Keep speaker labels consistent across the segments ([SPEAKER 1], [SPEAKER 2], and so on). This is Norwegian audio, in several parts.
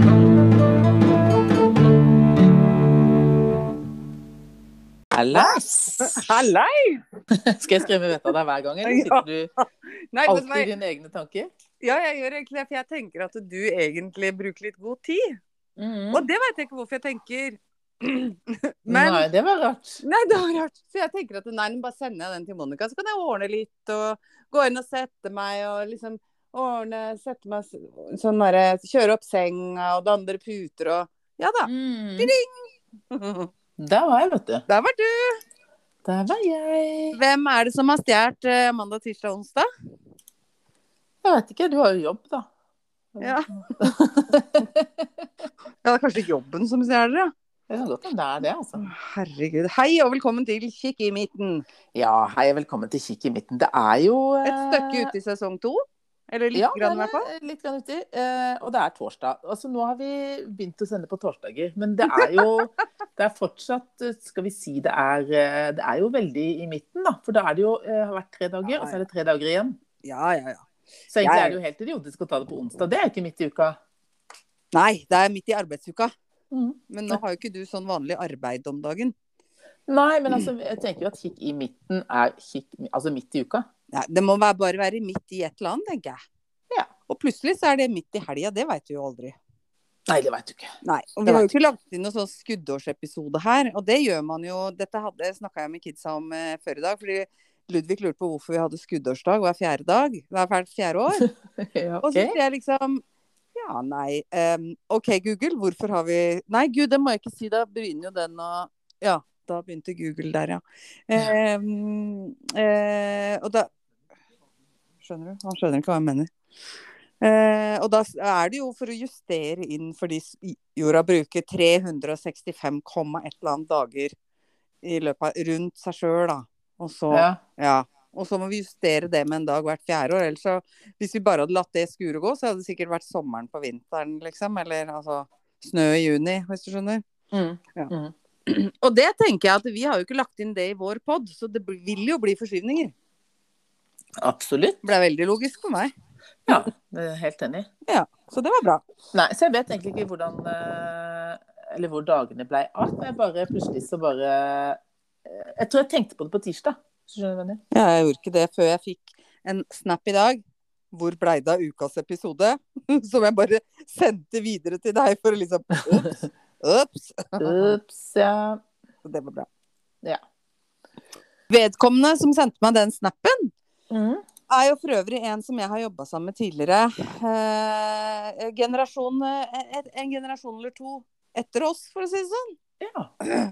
[SPEAKER 1] Hallas!
[SPEAKER 2] Hallei!
[SPEAKER 1] Skal jeg skremme vettet av deg hver gang, eller
[SPEAKER 2] Ja.
[SPEAKER 1] sitter du
[SPEAKER 2] Nei, vet du
[SPEAKER 1] alltid
[SPEAKER 2] hva?
[SPEAKER 1] i dine egne tanker?
[SPEAKER 2] Ja, jeg gjør egentlig det, for jeg tenker at du egentlig bruker litt god tid.
[SPEAKER 1] Mhm.
[SPEAKER 2] Og det vet jeg ikke hvorfor jeg tenker. Men
[SPEAKER 1] Nei, det var rart.
[SPEAKER 2] Nei, det var rart. Så jeg tenker at nei, men bare sender jeg den til Monica, så kan jeg ordne litt og gå inn og sette meg og liksom ordne Sette meg s- sånn derre Kjøre opp senga og dandre puter og Ja da.
[SPEAKER 1] Mm.
[SPEAKER 2] Der
[SPEAKER 1] Der var jeg, vet du.
[SPEAKER 2] var du.
[SPEAKER 1] Der var jeg.
[SPEAKER 2] Hvem er det som har stjålet eh, mandag, tirsdag, onsdag?
[SPEAKER 1] Jeg vet ikke, du har jo jobb, da.
[SPEAKER 2] Ja. Ja, det er kanskje jobben som stjeler, ja.
[SPEAKER 1] Det kan godt hende det er det, altså.
[SPEAKER 2] Herregud. Hei og velkommen til Kikk i midten.
[SPEAKER 1] Ja, hei, velkommen til Kikk i midten. Det er jo eh,
[SPEAKER 2] Et stykke ute i sesong to. Eller litt
[SPEAKER 1] ja,
[SPEAKER 2] grann,
[SPEAKER 1] det
[SPEAKER 2] i
[SPEAKER 1] er
[SPEAKER 2] hvert fall.
[SPEAKER 1] det, Litt grann uti. Eh, og det er torsdag. Altså, nå har vi begynt å sende på torsdager, men det er jo det er fortsatt eh, Skal vi si det er eh, Det er jo veldig i midten, da. For da er det jo eh, har vært tre dager,
[SPEAKER 2] Ja,
[SPEAKER 1] og så er det tre dager igjen.
[SPEAKER 2] Ja, ja, ja.
[SPEAKER 1] Så egentlig
[SPEAKER 2] Jeg-
[SPEAKER 1] er det jo helt idiotisk å ta det på onsdag. Det er jo ikke midt i uka.
[SPEAKER 2] Nei, det er midt i arbeidsuka.
[SPEAKER 1] Mm.
[SPEAKER 2] Men nå har jo ikke du sånn vanlig arbeid om dagen.
[SPEAKER 1] Nei, men altså, jeg tenker jo at kikk i midten er kikk Altså midt i uka.
[SPEAKER 2] Nei, det må være, bare være midt i et eller annet, tenker jeg.
[SPEAKER 1] Ja.
[SPEAKER 2] Og plutselig så er det midt i helga, det veit du jo aldri.
[SPEAKER 1] Nei, det veit du ikke.
[SPEAKER 2] Nei, og
[SPEAKER 1] Det
[SPEAKER 2] Vi har jo
[SPEAKER 1] vet
[SPEAKER 2] ikke lagt inn noen sånn skuddårsepisode her, og det gjør man jo Dette hadde, snakka jeg med kidsa om eh, før i dag, fordi Ludvig lurte på hvorfor vi hadde skuddårsdag hver fjerde dag. Hvert fjerde år.
[SPEAKER 1] Ja,
[SPEAKER 2] Og så sier jeg liksom Ja, nei. em, OK, Google, hvorfor har vi Nei, gud, det må jeg ikke si. Da begynner jo den å Ja, da begynte Google der, ja. Em, eh, og da Skjønner du? Han skjønner ikke hva jeg mener. Eh, og da er det jo for å justere inn fordi s- jorda bruker 365, et eller annet dager i løpet av, rundt seg sjøl, da. Og så
[SPEAKER 1] ja.
[SPEAKER 2] ja. Og så må vi justere det med en dag hvert fjerde år. Ellers så, hvis vi bare hadde latt det skure gå, så hadde det sikkert vært sommeren på vinteren, liksom. Eller altså snø i juni, hvis du skjønner.
[SPEAKER 1] Mm.
[SPEAKER 2] Og det tenker jeg at vi har jo ikke lagt inn det i vår pod, så det bl- vil jo bli forskyvninger.
[SPEAKER 1] Absolutt.
[SPEAKER 2] Det ble veldig logisk for meg.
[SPEAKER 1] Ja, det er jeg helt enig.
[SPEAKER 2] Så det var bra.
[SPEAKER 1] Nei, så jeg vet egentlig ikke hvordan eh, Eller hvor dagene blei av. Men jeg bare plutselig så bare eh, Jeg tror jeg tenkte på det på tirsdag. hvis du Skjønner du hva jeg mener?
[SPEAKER 2] Ja, jeg gjorde ikke det før jeg fikk en snap i dag. Hvor blei det av ukas episode? Som jeg bare sendte videre til deg for å liksom Ops. Ops.
[SPEAKER 1] Ups, ja.
[SPEAKER 2] Så det var bra.
[SPEAKER 1] Ja.
[SPEAKER 2] Vedkommende som sendte meg den snappen,
[SPEAKER 1] Mm.
[SPEAKER 2] er jo for øvrig en som jeg har jobba sammen med tidligere. Eh, generasjon, eh, et- en generasjon eller to etter oss, for å si det sånn.
[SPEAKER 1] ja.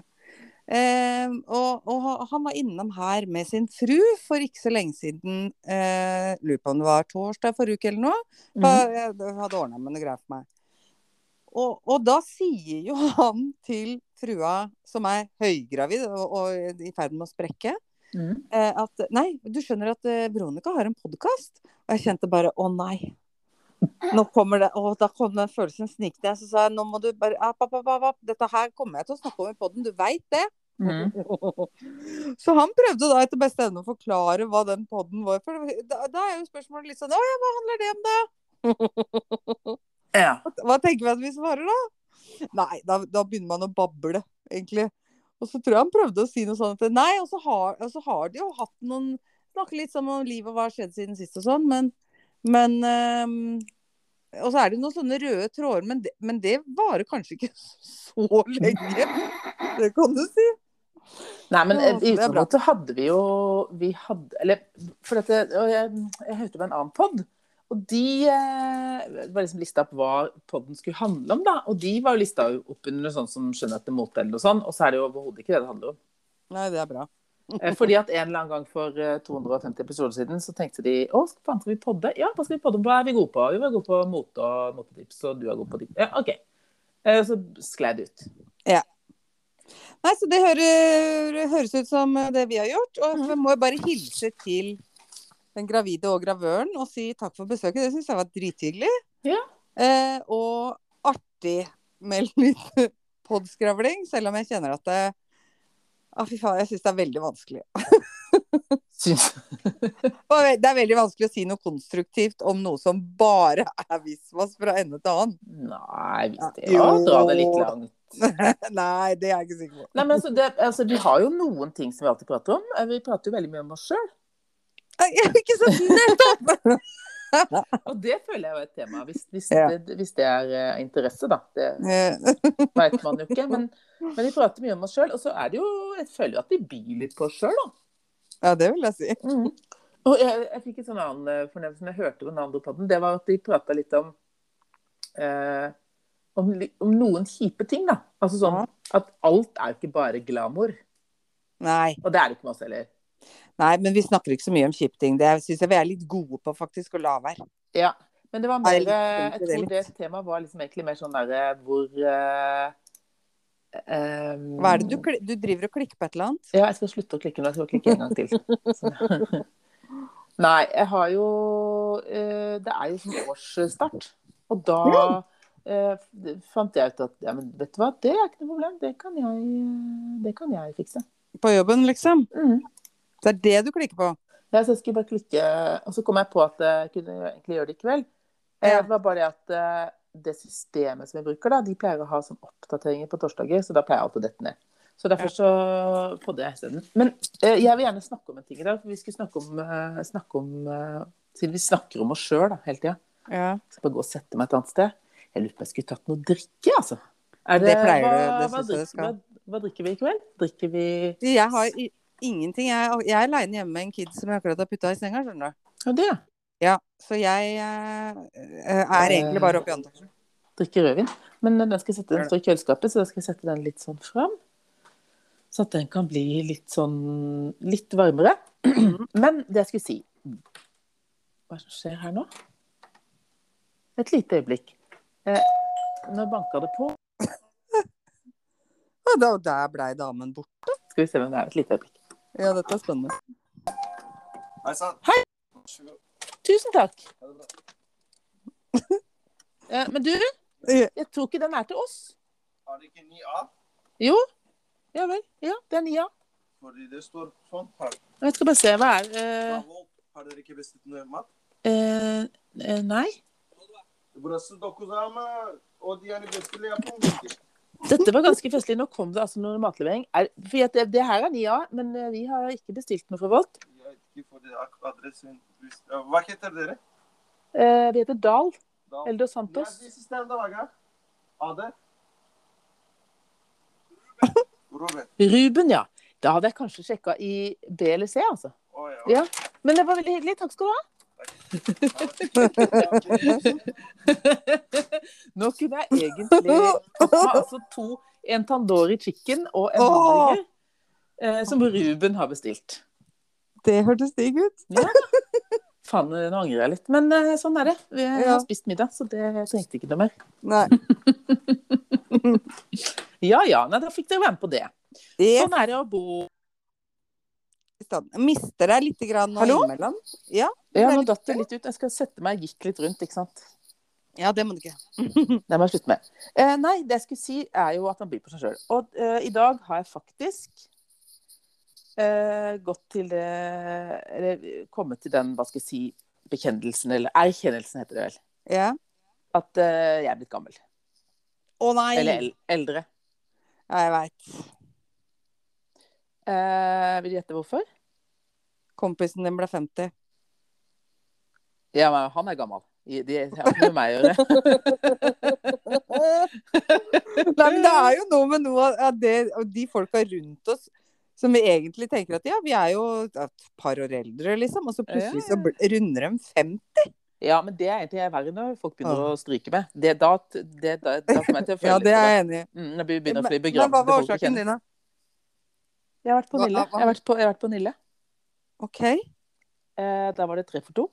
[SPEAKER 2] Eh, og, og han var innom her med sin fru for ikke så lenge siden. Eh, lurer på om det var torsdag forrige uke eller noe.
[SPEAKER 1] Mm.
[SPEAKER 2] For jeg hadde ordna med noe greier for meg. Og, og da sier jo han til frua, som er høygravid og, og i ferd med å sprekke,
[SPEAKER 1] Mm.
[SPEAKER 2] eh, at nei, du skjønner at eh, Veronica har en podkast. Og jeg kjente bare å nei. Nå kommer det, å, Da kom den følelsen snikende. Så sa jeg nå må du bare app, app, app, app, app. Dette her kommer jeg til å snakke om i poden, du veit det.
[SPEAKER 1] Mm.
[SPEAKER 2] Så han prøvde da etter beste evne å forklare hva den poden var. For da, da er jo spørsmålet litt sånn Å ja, hva handler det om, da?
[SPEAKER 1] Ja.
[SPEAKER 2] Hva tenker vi at vi svarer da? Nei, da, da begynner man å bable, egentlig. Og så tror jeg han prøvde å si noe sånt at nei, og så har, og så har de jo hatt noen Snakke litt sånn om livet og hva har skjedd siden sist og sånn, men, men ehm, Og så er det noen sånne røde tråder, men det, men det varer kanskje ikke så lenge. Det kan du si.
[SPEAKER 1] Nei, men
[SPEAKER 2] Å,
[SPEAKER 1] eh, i
[SPEAKER 2] det er bra.
[SPEAKER 1] utgangspunktet hadde vi jo Vi hadde Eller for dette og Jeg, jeg hørte på en annen pod, og de eh, var liksom lista opp hva poden skulle handle om, da. Og de var jo lista opp under sånn som skjønnhet til mote eller noe sånt, og så er det jo overhodet ikke det det handler om.
[SPEAKER 2] Nei, det er bra.
[SPEAKER 1] Eh, Fordi at en eller annen gang for eh, 250 episoder siden så tenkte de Å, faen, skal vi podde? Ja, hva skal vi podde om? Hva er vi gode på? Vi var gode på mote og motetips, og du er god på ditt. Ja, OK. Eh, Så sklei det ut.
[SPEAKER 2] Nei, så det hører, høres ut som det vi har gjort. Og vi må jo bare hilse til den gravide og gravøren og si takk for besøket. Det syns jeg var drithyggelig.
[SPEAKER 1] Ja.
[SPEAKER 2] Eh, og artig med litt podskravling, selv om jeg kjenner at det Ah, fy faen, jeg syns det er veldig vanskelig.
[SPEAKER 1] Syns
[SPEAKER 2] Og Det er veldig vanskelig å si noe konstruktivt om noe som bare er visvas fra ende til annen.
[SPEAKER 1] Nei, hvis det
[SPEAKER 2] Jo.
[SPEAKER 1] var å dra det litt langt.
[SPEAKER 2] Nei, det er jeg ikke sikker på.
[SPEAKER 1] Nei, men altså, det, altså, Vi har jo noen ting som vi alltid prater om. Eh, Vi prater jo veldig mye om oss sjøl.
[SPEAKER 2] Nei, Jeg fikk ikke sett nettopp!
[SPEAKER 1] Og det føler jeg jo er et tema, hvis, hvis,
[SPEAKER 2] Ja.
[SPEAKER 1] det, hvis det er eh, av interesse, da. Det
[SPEAKER 2] Eh,
[SPEAKER 1] veit man jo ikke. Men, men vi prater mye om oss sjøl. Og så er det jo Jeg føler jo at vi byr litt på oss sjøl, da.
[SPEAKER 2] Ja, det vil jeg si.
[SPEAKER 1] Og jeg, jeg fikk en sånn annen eh, fornemmelse når jeg hørte på den andre podden. Det var at de prata litt om eh, om, li- om noen kjipe ting, da. Altså sånn
[SPEAKER 2] Ja.
[SPEAKER 1] at alt er jo ikke bare glamour.
[SPEAKER 2] Nei.
[SPEAKER 1] Og det er det ikke med oss heller.
[SPEAKER 2] Nei, men vi snakker ikke så mye om kjipe ting. Det syns jeg vi er litt gode på, faktisk, å la være.
[SPEAKER 1] Ja, men det var mer eh,
[SPEAKER 2] Nei,
[SPEAKER 1] Jeg
[SPEAKER 2] jeg likte det
[SPEAKER 1] tror
[SPEAKER 2] litt.
[SPEAKER 1] det temaet var liksom egentlig mer sånn derre hvor eh, eh,
[SPEAKER 2] Hva er det du, kli- du driver og klikker på et eller annet?
[SPEAKER 1] Ja, jeg skal slutte å klikke nå. Jeg skal klikke en gang til. Sånn. Nei, jeg har jo eh, Det er jo som årsstart. Og da eh, f- fant jeg ut at ja, men vet du hva, det er ikke noe problem. Det kan jeg, eh, det kan jeg fikse.
[SPEAKER 2] På jobben, liksom?
[SPEAKER 1] Mm.
[SPEAKER 2] Det er det du klikker på?
[SPEAKER 1] Ja, så jeg skulle bare klikke, og så kom jeg på at jeg kunne jo egentlig gjøre det i kveld. Eh,
[SPEAKER 2] Ja.
[SPEAKER 1] Det var bare det at eh, det systemet som jeg bruker, da, de pleier å ha sånn oppdateringer på torsdager, så da pleier alt å dette ned. Så derfor så podder jeg isteden. Men eh, jeg vil gjerne snakke om en ting i dag. for Vi skulle snakke om, eh, snakke om eh, Siden vi snakker om oss sjøl hele tida.
[SPEAKER 2] Ja.
[SPEAKER 1] Skal bare gå og sette meg et annet sted. Jeg lurer på om jeg skulle tatt noe drikke, altså. Er
[SPEAKER 2] Det pleier
[SPEAKER 1] hva,
[SPEAKER 2] du, det
[SPEAKER 1] hva,
[SPEAKER 2] synes jeg du
[SPEAKER 1] drikker-
[SPEAKER 2] skal.
[SPEAKER 1] hva, hva drikker vi i kveld? Drikker vi
[SPEAKER 2] Jeg har i- ingenting. Jeg, jeg er aleine hjemme med en kid som jeg akkurat har putta i senga, skjønner du.
[SPEAKER 1] Ja, det. ja.
[SPEAKER 2] Ja, så jeg eh, er egentlig bare oppe i antakten.
[SPEAKER 1] drikke rødvin. Men den skal jeg sette,
[SPEAKER 2] Gjør
[SPEAKER 1] den står i kjøleskapet, så da skal jeg sette den litt sånn fram. Så at den kan bli litt sånn litt varmere. Men det jeg skulle si Hva er det som skjer her nå? Et lite øyeblikk. Eh, nå banka det på.
[SPEAKER 2] Og da, og der blei damen borte.
[SPEAKER 1] Skal vi se hvem det er. Et lite øyeblikk.
[SPEAKER 2] Ja, dette er spennende.
[SPEAKER 3] Hei sann.
[SPEAKER 1] Tusen takk. Eh, men du,
[SPEAKER 2] Ja.
[SPEAKER 1] jeg tror ikke den er til oss.
[SPEAKER 3] Har du ikke 9A?
[SPEAKER 1] Jo. Ja vel. Ja, det er Nia.
[SPEAKER 3] Fordi det står sånn her.
[SPEAKER 1] Jeg skal bare se. Hva er eh,
[SPEAKER 3] Davul, Har dere ikke bestilt noe mat?
[SPEAKER 1] eh, eh, Nei.
[SPEAKER 3] Burası 9 ama o hani diğer gösteri yapılmadı.
[SPEAKER 1] Dette var ganske festlig. Nå kom det altså noen matlevering. Er, for at det, det her er 9A, men eh, vi har ikke bestilt noe fra Volt.
[SPEAKER 3] Ya ki fordi ak- adresin biz- Ya, Vak yeter dere.
[SPEAKER 1] Eh, vi heter Dal
[SPEAKER 3] Daha-
[SPEAKER 1] Eldo Santos.
[SPEAKER 3] Nerede sistemde bak ha? Adı? Ruben.
[SPEAKER 1] Ruben, ja. Da hadde jeg kanskje sjekka i B eller C, altså.
[SPEAKER 3] O ya.
[SPEAKER 1] Ja. Men det var veldig hyggelig. Takk skal du ha. Nå kunne jeg egentlig ha altså to En Tandori chicken og en
[SPEAKER 2] Åh!
[SPEAKER 1] hamburger. Eh, som Ruben har bestilt.
[SPEAKER 2] Det hørtes digg ut.
[SPEAKER 1] Faen, nå angrer jeg litt. Men eh, sånn er det. Vi
[SPEAKER 2] Ja.
[SPEAKER 1] har spist middag, så det trengte ikke noe mer.
[SPEAKER 2] Nei.
[SPEAKER 1] Ja ja. Nei, da fikk dere være med på det.
[SPEAKER 2] Jeg
[SPEAKER 1] Sånn er det å bo
[SPEAKER 2] mister deg litt grann nå
[SPEAKER 1] Hallo?
[SPEAKER 2] innimellom. Ja.
[SPEAKER 1] Ja,
[SPEAKER 2] Det er
[SPEAKER 1] nå
[SPEAKER 2] litt
[SPEAKER 1] datt det litt ut. Jeg skal sette meg, gikk litt rundt, ikke sant.
[SPEAKER 2] ja, det må du ikke.
[SPEAKER 1] Det må jeg slutte med. Eh, nei, det jeg skulle si er jo at man byr på seg sjøl. Og eh, i dag har jeg faktisk eh, gått til det Eller kommet til den, hva skal jeg si, bekjennelsen, eller erkjennelsen heter det vel.
[SPEAKER 2] Ja.
[SPEAKER 1] At eh, jeg er blitt gammel.
[SPEAKER 2] Å nei!
[SPEAKER 1] Eller el eldre.
[SPEAKER 2] Ja, jeg veit.
[SPEAKER 1] Eh, vil du gjette hvorfor?
[SPEAKER 2] Kompisen din ble 50.
[SPEAKER 1] Ja, men han er gammel. De de har ikke noe med meg å gjøre.
[SPEAKER 2] Nei, men det
[SPEAKER 1] Eh.
[SPEAKER 2] er jo noe med noe av det og de folka rundt oss som vi egentlig tenker at ja, vi er jo et par år eldre, liksom. Og så plutselig så bl- runder de 50.
[SPEAKER 1] Ja, men det er egentlig verre når folk begynner å stryke med. Det, da, det, da, da kommer jeg til å føle
[SPEAKER 2] Ja,
[SPEAKER 1] litt
[SPEAKER 2] det
[SPEAKER 1] på
[SPEAKER 2] er jeg enig i.
[SPEAKER 1] Mm, når vi begynner å fly
[SPEAKER 2] Men men
[SPEAKER 1] begravelse til
[SPEAKER 2] hva var
[SPEAKER 1] folk vi
[SPEAKER 2] årsaken
[SPEAKER 1] kjenner.
[SPEAKER 2] din, da?
[SPEAKER 1] Jeg har vært på
[SPEAKER 2] Hva-
[SPEAKER 1] Nille.
[SPEAKER 2] hva-
[SPEAKER 1] Jeg har vært på, jeg har vært på Nille.
[SPEAKER 2] OK.
[SPEAKER 1] Eh, da var det tre for to.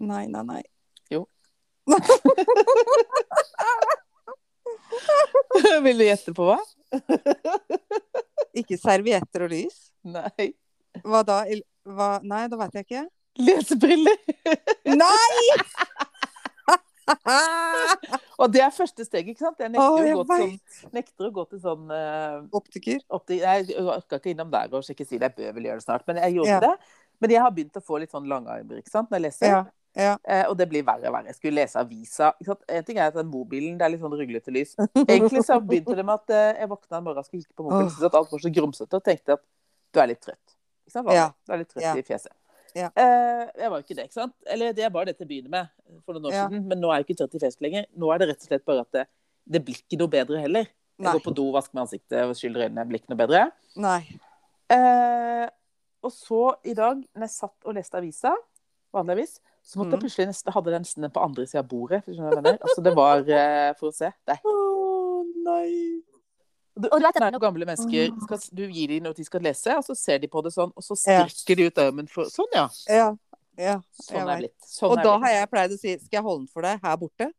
[SPEAKER 2] Nei, nei, nei.
[SPEAKER 1] Vil du gjette på hva?
[SPEAKER 2] Ikke servietter og lys?
[SPEAKER 1] Nei.
[SPEAKER 2] Hva da? Il- Hva? Nei, da veit jeg ikke.
[SPEAKER 1] Lesebriller.
[SPEAKER 2] Nei!
[SPEAKER 1] Og det er første steg, ikke sant? Jeg
[SPEAKER 2] Å,
[SPEAKER 1] nekter,
[SPEAKER 2] jeg
[SPEAKER 1] å, gå til sånn, nekter å gå til sånn eh,
[SPEAKER 2] Optiker.
[SPEAKER 1] opti, Jeg orka ikke innom der og sjekke sida. Jeg bør vel gjøre det snart, men jeg gjorde
[SPEAKER 2] Ja.
[SPEAKER 1] det. Men jeg har begynt å få litt sånn langarmer ikke sant? når jeg leser.
[SPEAKER 2] Ja. ja.
[SPEAKER 1] Eh, og det blir verre og verre. Jeg skulle lese avisa. Ikke sant? En ting er at den mobilen det er litt sånn ruglete lys. Egentlig så begynte det med at eh, jeg våkna en morgen og skulle kikke på mobilen,
[SPEAKER 2] Åh.
[SPEAKER 1] syntes at alt var så grumsete, og tenkte at du er litt trøtt. Ikke sant? Vanja?
[SPEAKER 2] Ja.
[SPEAKER 1] Du er litt trøtt
[SPEAKER 2] Ja.
[SPEAKER 1] i fjeset.
[SPEAKER 2] Ja.
[SPEAKER 1] Eh, jeg var jo ikke det, ikke sant? Eller det var det til å begynne med for noen år
[SPEAKER 2] Ja.
[SPEAKER 1] siden, men nå er jeg ikke trøtt i fjeset lenger. Nå er det rett og slett bare at det, det blir ikke noe bedre heller. Jeg
[SPEAKER 2] Nei.
[SPEAKER 1] går på do, vasker meg i ansiktet, og skyller øynene, blir ikke noe bedre.
[SPEAKER 2] Nei.
[SPEAKER 1] Eh, og så i dag, når jeg satt og leste avisa, vanligvis, så måtte
[SPEAKER 2] Mm.
[SPEAKER 1] jeg plutselig nesten, hadde jeg nesten den på andre siden av bordet. hvis du skjønner hva jeg mener. Altså, det var eh, For å se. Det er
[SPEAKER 2] Å nei.
[SPEAKER 1] du, og du vet at når gamle mennesker skal, du gir dem noe de skal lese, og så ser de på det sånn, og så strekker de ut armen for Sånn, ja.
[SPEAKER 2] Ja. ja
[SPEAKER 1] Sånn
[SPEAKER 2] Jeg
[SPEAKER 1] er
[SPEAKER 2] vet.
[SPEAKER 1] jeg blitt. Sånn
[SPEAKER 2] og
[SPEAKER 1] er
[SPEAKER 2] da
[SPEAKER 1] blitt.
[SPEAKER 2] har jeg pleid å si Skal jeg holde den for deg her borte?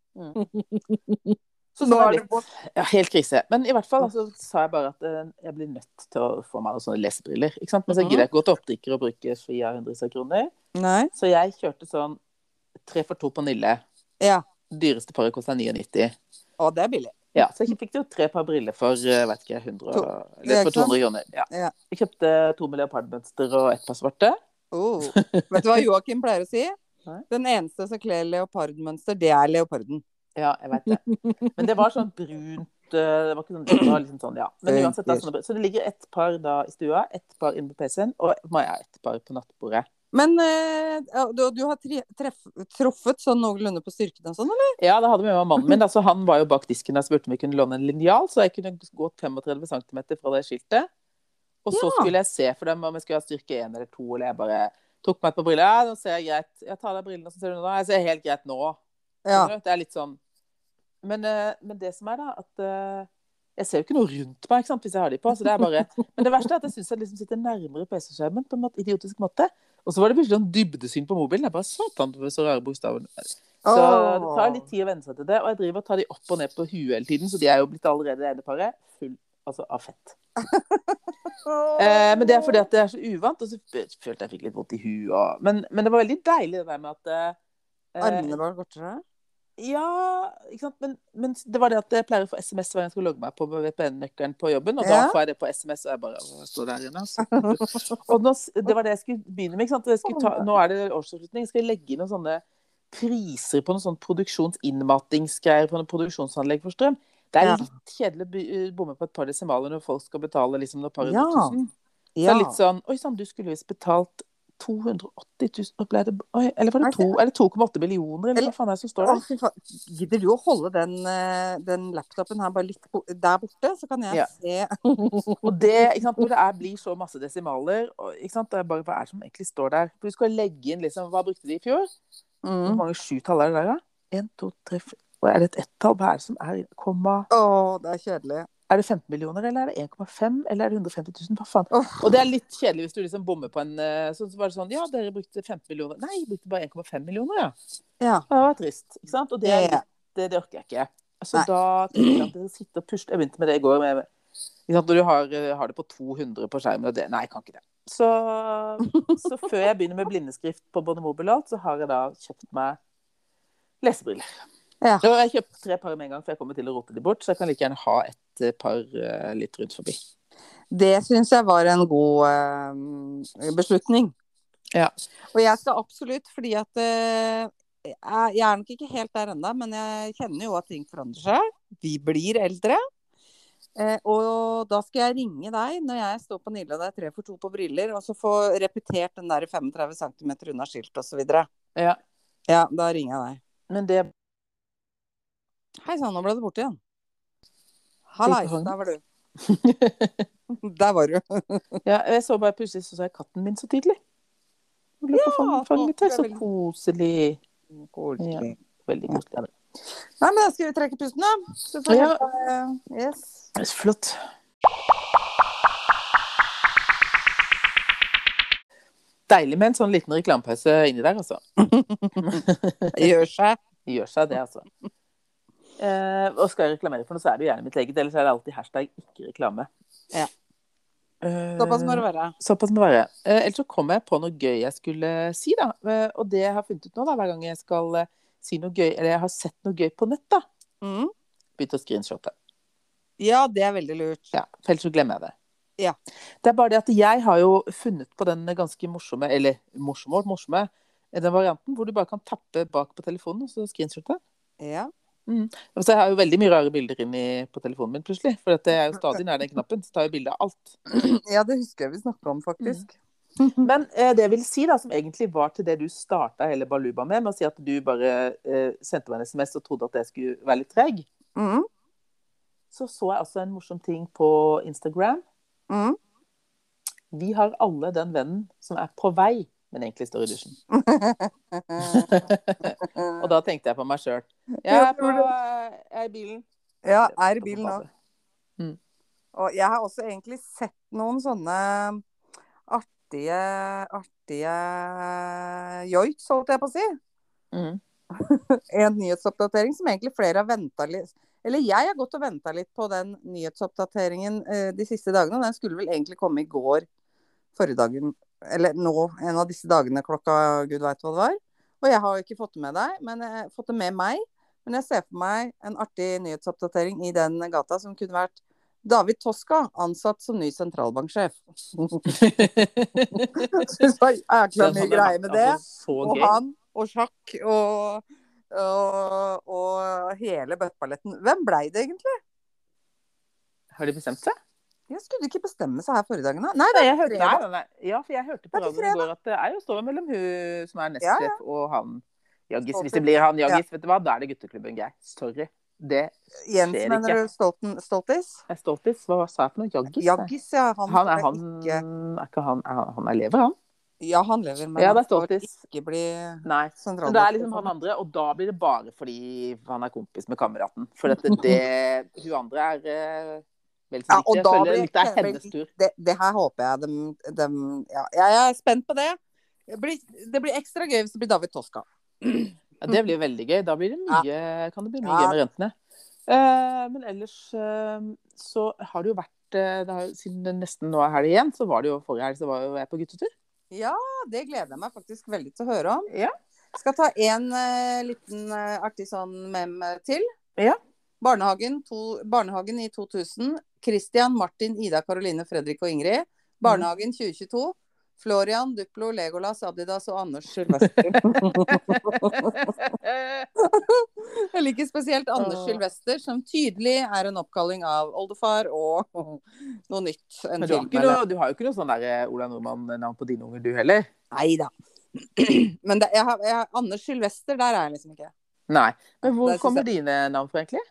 [SPEAKER 1] Så sånn
[SPEAKER 2] Nå
[SPEAKER 1] er
[SPEAKER 2] er
[SPEAKER 1] jeg
[SPEAKER 2] det
[SPEAKER 1] blitt. Ja, helt krise. Men i hvert fall altså, sa jeg bare at eh, jeg blir nødt til å få meg noen sånne lesebriller. ikke sant? Men så gidder jeg ikke gå til optiker og bruke 400 kroner.
[SPEAKER 2] Nei.
[SPEAKER 1] Så jeg kjørte sånn tre for to på Nille.
[SPEAKER 2] Ja.
[SPEAKER 1] Dyreste paret kosta 99.
[SPEAKER 2] Å, det er billig.
[SPEAKER 1] Ja, så jeg fikk jo tre par briller for eh, vet ikke, 100, og- eller
[SPEAKER 2] To-
[SPEAKER 1] for
[SPEAKER 2] Ja, ikke sant?
[SPEAKER 1] 200 kroner. Ja.
[SPEAKER 2] Ja.
[SPEAKER 1] Jeg kjøpte to med leopardmønster og ett par svarte.
[SPEAKER 2] Oh. Vet du hva Joakim pleier å si?
[SPEAKER 1] Nei.
[SPEAKER 2] Den eneste som kler leopardmønster, det er leoparden.
[SPEAKER 1] Ja, jeg vet det. Men det var sånn brunt eh, Det var ikke sånn, det var liksom sånn ja. Men uansett, da, sånne, så det ligger ett par da i stua, ett par inne på PC-en, og Maja har ett par på nattbordet.
[SPEAKER 2] Men eh, du, du har tre, treff, truffet sånn noenlunde på styrken og sånn, eller?
[SPEAKER 1] Ja, da hadde vi med meg mannen min. Da, så han var jo bak disken da jeg spurte om vi kunne låne en linjal. Så jeg kunne gå 35 cm fra det skiltet. Og så
[SPEAKER 2] Ja.
[SPEAKER 1] skulle jeg se for dem om jeg skulle ha styrke 1 eller 2, eller jeg bare tok meg et par briller. Ja, nå ser jeg greit. Jeg tar av deg brillene, og så ser du nå. da. Jeg ser helt greit nå.
[SPEAKER 2] Ja.
[SPEAKER 1] Skjønner du? Det er litt sånn. Men, eh, men det som er, da, at eh, jeg ser jo ikke noe rundt meg ikke sant, hvis jeg har de på. Så det er bare... Men det verste er at jeg syns jeg liksom sitter nærmere PC-skjermen på en måte, idiotisk måte. Og så var det plutselig sånn dybdesyn på mobilen. Jeg bare satan, det var så rare bokstaver. Så
[SPEAKER 2] Åh.
[SPEAKER 1] det tar litt tid å venne seg til det. Og jeg driver og tar de opp og ned på huet hele tiden, så de er jo blitt allerede det ene paret full altså, av fett. Eh, men det er fordi at det er så uvant, og så følte jeg fikk litt vondt i huet. Og... Men, men det var veldig deilig det der med at eh,
[SPEAKER 2] Armene var kortere?
[SPEAKER 1] ja, ikke sant? Men, men det var det at jeg pleier å få SMS hver gang jeg skal logge meg på med VPN-nøkkelen på jobben. Og da
[SPEAKER 2] Ja.
[SPEAKER 1] får jeg det på SMS, og jeg bare «Å, jeg står der igjen, altså. og nå, s- det var det jeg skulle begynne med. Ikke sant? Jeg skulle ta, nå er det årsavslutning. Jeg skal legge inn noen sånne priser på noen sånne produksjonsinnmatingsgreier på noen produksjonsanlegg for strøm. Det er
[SPEAKER 2] Ja.
[SPEAKER 1] litt kjedelig å by- bomme på et par desimaler når folk skal betale liksom et par hundre
[SPEAKER 2] Ja.
[SPEAKER 1] tusen. Så
[SPEAKER 2] Ja.
[SPEAKER 1] det er litt sånn Oi sann, du skulle visst betalt 280 000 og ble det, oi, Eller var det
[SPEAKER 2] Er det-
[SPEAKER 1] to, er det 2,8 millioner, eller
[SPEAKER 2] Eller-
[SPEAKER 1] hva faen er det som står
[SPEAKER 2] Å,
[SPEAKER 1] der?
[SPEAKER 2] fy faen. Gidder du å holde den, eh, den laptopen her bare litt bo der borte, så kan jeg
[SPEAKER 1] Ja.
[SPEAKER 2] se
[SPEAKER 1] Og det, ikke sant, når det er, blir så masse desimaler, og, ikke sant, det er bare hva er det som egentlig står der? For du skal legge inn liksom, Hva brukte de i fjor? Hvor
[SPEAKER 2] mm.
[SPEAKER 1] mange sjutall er det der, da? En, to, tre, fire Hva Er det et ett-tall? Hva er det som er komma
[SPEAKER 2] Å, det er kjedelig.
[SPEAKER 1] Er det 15 millioner, eller er det 1,5? Eller er det 150 000? Hva faen?
[SPEAKER 2] Åh.
[SPEAKER 1] Og det er litt kjedelig hvis du liksom bommer på en eh, sånn så var det sånn Ja, dere brukte 15 millioner. Nei, jeg brukte bare 1,5 millioner, ja.
[SPEAKER 2] Ja.
[SPEAKER 1] Ja, Det var trist. ikke sant? Og det, er
[SPEAKER 2] Ja.
[SPEAKER 1] litt, det, det orker jeg ikke. Så
[SPEAKER 2] Nei.
[SPEAKER 1] da tenker jeg at jeg sitter og pusler. Jeg begynte med det i går. Med, ikke sant? Når du har, eh, har det på 200 på skjermen og det Nei, jeg kan ikke det. Så, så før jeg begynner med blindeskrift på både mobil og alt, så har jeg da kjøpt meg lesebriller.
[SPEAKER 2] Ja.
[SPEAKER 1] Og jeg kjøpte tre par med en gang, for jeg kommer til å rote de bort. Så jeg kan like gjerne ha et eh, par eh, litt rundt forbi.
[SPEAKER 2] Det syns jeg var en god eh, beslutning.
[SPEAKER 1] Ja.
[SPEAKER 2] Og jeg skal absolutt, fordi at eh, jeg jeg er nok ikke helt der ennå, men jeg kjenner jo at ting forandrer seg. Vi blir eldre. Eh, og da skal jeg ringe deg når jeg står på Nille og det er tre for to på briller, og så få repetert den der 35 cm unna skilt osv.
[SPEAKER 1] Ja.
[SPEAKER 2] ja, da ringer jeg deg.
[SPEAKER 1] Men det
[SPEAKER 2] Hei sann, nå ble du borte igjen.
[SPEAKER 1] Gikk
[SPEAKER 2] Hallais,
[SPEAKER 1] han?
[SPEAKER 2] der var du. Der var du.
[SPEAKER 1] ja, Jeg så bare plutselig så, så jeg katten min så tydelig. Jeg lurer på om han fanget her. Så
[SPEAKER 2] det er veldig-
[SPEAKER 1] koselig.
[SPEAKER 2] Koselig.
[SPEAKER 1] Veldig koselig. Ja.
[SPEAKER 2] Nei, men da skal vi trekke pusten, da. Så får
[SPEAKER 1] Ja.
[SPEAKER 2] vi yes.
[SPEAKER 1] Det er så flott. Deilig med en sånn liten reklamepause inni der, altså.
[SPEAKER 2] Gjør seg.
[SPEAKER 1] Det Gjør seg det, altså. Eh, og skal jeg reklamere for noe, så er det jo gjerne mitt eget. Ellers er det alltid hashtag ikke reklame.
[SPEAKER 2] Ja.
[SPEAKER 1] Eh,
[SPEAKER 2] Såpass må det være.
[SPEAKER 1] Såpass må det være. Eh, ellers så kom jeg på noe gøy jeg skulle si, da. Eh, og det jeg har funnet ut nå, da, hver gang jeg skal eh, si noe gøy, eller jeg har sett noe gøy på nett, da,
[SPEAKER 2] Mm.
[SPEAKER 1] Begynn å screenshotte.
[SPEAKER 2] Ja, det er veldig lurt.
[SPEAKER 1] Ja, for ellers så glemmer jeg det.
[SPEAKER 2] Ja.
[SPEAKER 1] Det er bare det at jeg har jo funnet på den ganske morsomme, eller morsomme, morsomme, eh, den varianten hvor du bare kan tappe bak på telefonen og så screenshotte.
[SPEAKER 2] Ja.
[SPEAKER 1] Altså, jeg har jo veldig mye rare bilder inni på telefonen min plutselig. For at jeg er jo stadig nær den knappen. Så tar jeg bilde av alt.
[SPEAKER 2] ja, det husker jeg vi snakka om, faktisk.
[SPEAKER 1] Men eh, det jeg vil si, da, som egentlig var til det du starta hele baluba med, med å si at du bare eh, sendte meg en SMS og trodde at jeg skulle være litt treg,
[SPEAKER 2] Mm.
[SPEAKER 1] så så jeg altså en morsom ting på Instagram.
[SPEAKER 2] Mm.
[SPEAKER 1] Vi har alle den vennen som er på vei, men egentlig står i dusjen. Og da tenkte jeg på meg sjøl. Jeg er,
[SPEAKER 2] Jeg
[SPEAKER 1] på,
[SPEAKER 2] tror
[SPEAKER 1] jeg er i bilen.
[SPEAKER 2] Ja, er i bilen nå.
[SPEAKER 1] Mm.
[SPEAKER 2] Og jeg har også egentlig sett noen sånne artige artige joiks, holdt jeg på å si.
[SPEAKER 1] Mm.
[SPEAKER 2] En nyhetsoppdatering som egentlig flere har venta litt Eller jeg har gått og venta litt på den nyhetsoppdateringen eh, de siste dagene. Og den skulle vel egentlig komme i går, forrige dagen Eller nå, en av disse dagene klokka gud veit hva det var. Og jeg har jo ikke fått det med deg, men jeg har fått det med meg. Men jeg ser for meg en artig nyhetsoppdatering i den gata som kunne vært David Toska, ansatt som ny sentralbanksjef. Jeg synes det var jækla mye greier med det.
[SPEAKER 1] Altså, så
[SPEAKER 2] Og
[SPEAKER 1] gøy.
[SPEAKER 2] han, og sjakk, og, og, og hele bøtteballetten. Hvem blei det egentlig?
[SPEAKER 1] Har de bestemt seg?
[SPEAKER 2] Jeg skulle de ikke bestemme seg her forrige dagen, da? Nei,
[SPEAKER 1] Nei,
[SPEAKER 2] det
[SPEAKER 1] jeg
[SPEAKER 2] er
[SPEAKER 1] hørte, nei,
[SPEAKER 2] fredag.
[SPEAKER 1] nei, nei. Ja, for jeg hørte
[SPEAKER 2] Det
[SPEAKER 1] på
[SPEAKER 2] er på
[SPEAKER 1] radioen i går at det er jo stående mellom hun som er
[SPEAKER 2] Ja,
[SPEAKER 1] nestsjef og han Jaggis.
[SPEAKER 2] Stoltenberg.
[SPEAKER 1] Hvis det blir han Jaggis, vet du hva, da er det gutteklubben, Geir. Sorry. Det
[SPEAKER 2] Jens,
[SPEAKER 1] skjer
[SPEAKER 2] mener
[SPEAKER 1] ikke.
[SPEAKER 2] du Stolten, Stoltis?
[SPEAKER 1] er Stoltis. Hva sa jeg for noe? Jaggis? nei.
[SPEAKER 2] Jaggis, ja. Han,
[SPEAKER 1] Han er
[SPEAKER 2] skal
[SPEAKER 1] han
[SPEAKER 2] Ikke,
[SPEAKER 1] Er ikke han er, han- Han er lever, han?
[SPEAKER 2] ja, han lever, men
[SPEAKER 1] Ja, det er
[SPEAKER 2] han skal
[SPEAKER 1] Stoltis.
[SPEAKER 2] ikke bli
[SPEAKER 1] Nei. Men det er liksom han
[SPEAKER 2] sentralbanksjef.
[SPEAKER 1] andre, og da blir det bare fordi han er kompis med kameraten. For at det Hun andre er eh, vel så
[SPEAKER 2] Ja, og
[SPEAKER 1] viktig. Jeg
[SPEAKER 2] da
[SPEAKER 1] føler
[SPEAKER 2] blir
[SPEAKER 1] litt det er
[SPEAKER 2] Kjell
[SPEAKER 1] hennes tur.
[SPEAKER 2] Det, det her håper jeg dem, dem ja, Jeg er spent på det. Det blir, det blir ekstra gøy hvis det blir David Toska.
[SPEAKER 1] Ja, det blir veldig gøy. Da blir det mye, kan det bli mye
[SPEAKER 2] Ja.
[SPEAKER 1] gøy med rentene. Eh, men ellers eh, så har det jo vært eh, det har, jo- Siden det nesten nå er helg igjen, så var det jo forrige helg så var jo jeg på guttetur.
[SPEAKER 2] Ja, det gleder jeg meg faktisk veldig til å høre om.
[SPEAKER 1] Ja.
[SPEAKER 2] Jeg skal ta en eh, liten eh, artig sånn mem eh, til.
[SPEAKER 1] Ja.
[SPEAKER 2] Barnehagen, to, barnehagen i 2000. Christian, Martin, Ida, Karoline, Fredrik og Ingrid. Barnehagen
[SPEAKER 1] Mm.
[SPEAKER 2] 2022. Florian, Duplo, Legolas, Adidas og Anders Sylvester. Jeg liker spesielt Anders
[SPEAKER 1] Åh.
[SPEAKER 2] Sylvester, som tydelig er en oppkalling av oldefar og noe nytt. En
[SPEAKER 1] Men du har, ikke
[SPEAKER 2] filmmelder.
[SPEAKER 1] noe, du har jo ikke noe sånn der eh, Ola Nordmann-navn på dine unger, du heller?
[SPEAKER 2] Nei da. Men det, jeg har, jeg har, Anders Sylvester, der er jeg liksom ikke.
[SPEAKER 1] Nei. Men hvor
[SPEAKER 2] Der synes
[SPEAKER 1] kommer dine navn fra, egentlig?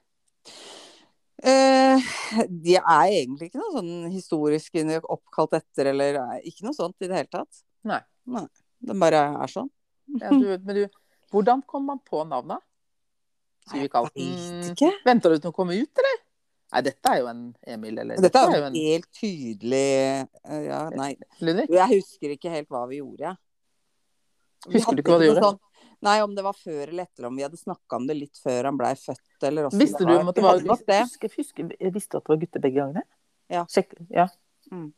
[SPEAKER 2] Eh, de er egentlig ikke noe sånn historisk oppkalt etter, eller eh, ikke noe sånt i det hele tatt.
[SPEAKER 1] Nei.
[SPEAKER 2] De bare er sånn.
[SPEAKER 1] Ja, du, men du, hvordan kom man på navnet? Sier vi ikke alt.
[SPEAKER 2] Veit
[SPEAKER 1] Mm,
[SPEAKER 2] ikke.
[SPEAKER 1] Venter du til hun kommer ut, eller? Nei, dette er jo en Emil, eller
[SPEAKER 2] Dette er
[SPEAKER 1] jo
[SPEAKER 2] jo
[SPEAKER 1] en
[SPEAKER 2] helt tydelig eh, Ja, nei.
[SPEAKER 1] Ludvig.
[SPEAKER 2] Jeg husker ikke helt hva vi gjorde, jeg. Vi
[SPEAKER 1] Husker
[SPEAKER 2] hadde
[SPEAKER 1] du ikke hva du
[SPEAKER 2] noe
[SPEAKER 1] gjorde?
[SPEAKER 2] Sånn, nei, om det var før eller etter, om vi hadde snakka om det litt før han blei født, eller åssen
[SPEAKER 1] Visste du om at det var
[SPEAKER 2] Vi hadde nok det.
[SPEAKER 1] Husker, husker, visste du at det var gutter begge gangene?
[SPEAKER 2] Ja.
[SPEAKER 1] Sjekk, ja.
[SPEAKER 2] Mm.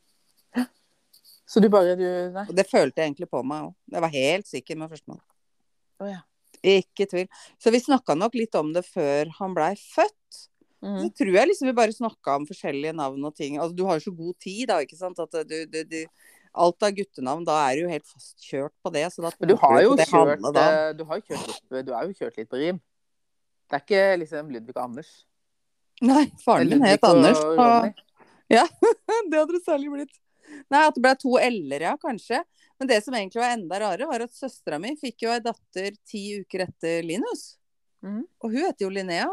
[SPEAKER 1] Så du bare du, Nei.
[SPEAKER 2] Og det følte jeg egentlig på meg òg. Jeg var helt sikker med førstemann.
[SPEAKER 1] Å ja.
[SPEAKER 2] Ikke tvil. Så vi snakka nok litt om det før han blei født. Så
[SPEAKER 1] Mm.
[SPEAKER 2] tror jeg liksom vi bare snakka om forskjellige navn og ting. Altså, du har jo så god tid, da, ikke sant. At du, du, du Alt av guttenavn, da er du jo helt fastkjørt på det. Så da
[SPEAKER 1] Men du
[SPEAKER 2] tenker
[SPEAKER 1] har jo
[SPEAKER 2] på det
[SPEAKER 1] kjørt,
[SPEAKER 2] alle da.
[SPEAKER 1] eh, du har jo kjørt litt, du er jo kjørt litt på rim. Det er ikke liksom Ludvig og Anders.
[SPEAKER 2] Nei, faren
[SPEAKER 1] Det er
[SPEAKER 2] min het
[SPEAKER 1] Ludvig og
[SPEAKER 2] Anders.
[SPEAKER 1] Ronny.
[SPEAKER 2] Og... Det hadde det særlig blitt. Nei, at det ble to l-er, ja, kanskje. Men det som egentlig var enda rarere, var at søstera mi fikk jo ei datter ti uker etter Linus.
[SPEAKER 1] Mhm.
[SPEAKER 2] Og hun heter jo Linnea.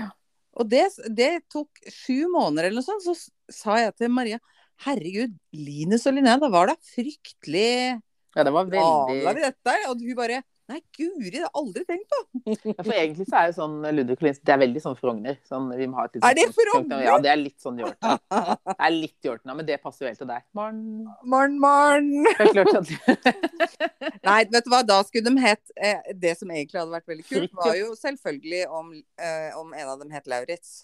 [SPEAKER 1] Ja.
[SPEAKER 2] Og det, det tok sju måneder eller noe sånt, så s- sa jeg til Maria Herregud, Linus og Linnea, da var da fryktelig
[SPEAKER 1] Ja, det var veldig
[SPEAKER 2] avla vi dette. Og hun bare Nei, guri, det har jeg aldri tenkt på.
[SPEAKER 1] Ja, For egentlig så er jo sånn Ludvig og Lins, det er veldig sånn Frogner. Sånn, vi må ha et litt
[SPEAKER 2] Er det
[SPEAKER 1] sånn Frogner-
[SPEAKER 2] Frogner?
[SPEAKER 1] Ja, det er litt sånn Hjortna. Det er litt Hjortna, men det passer jo helt til deg. Morn.
[SPEAKER 2] Morn, morn.
[SPEAKER 1] Det er klart at
[SPEAKER 2] Nei, vet du hva, da skulle de hett eh, Det som egentlig hadde vært veldig kult,
[SPEAKER 1] Fridtjof.
[SPEAKER 2] var jo selvfølgelig om, eh, om en av dem het Lauritz.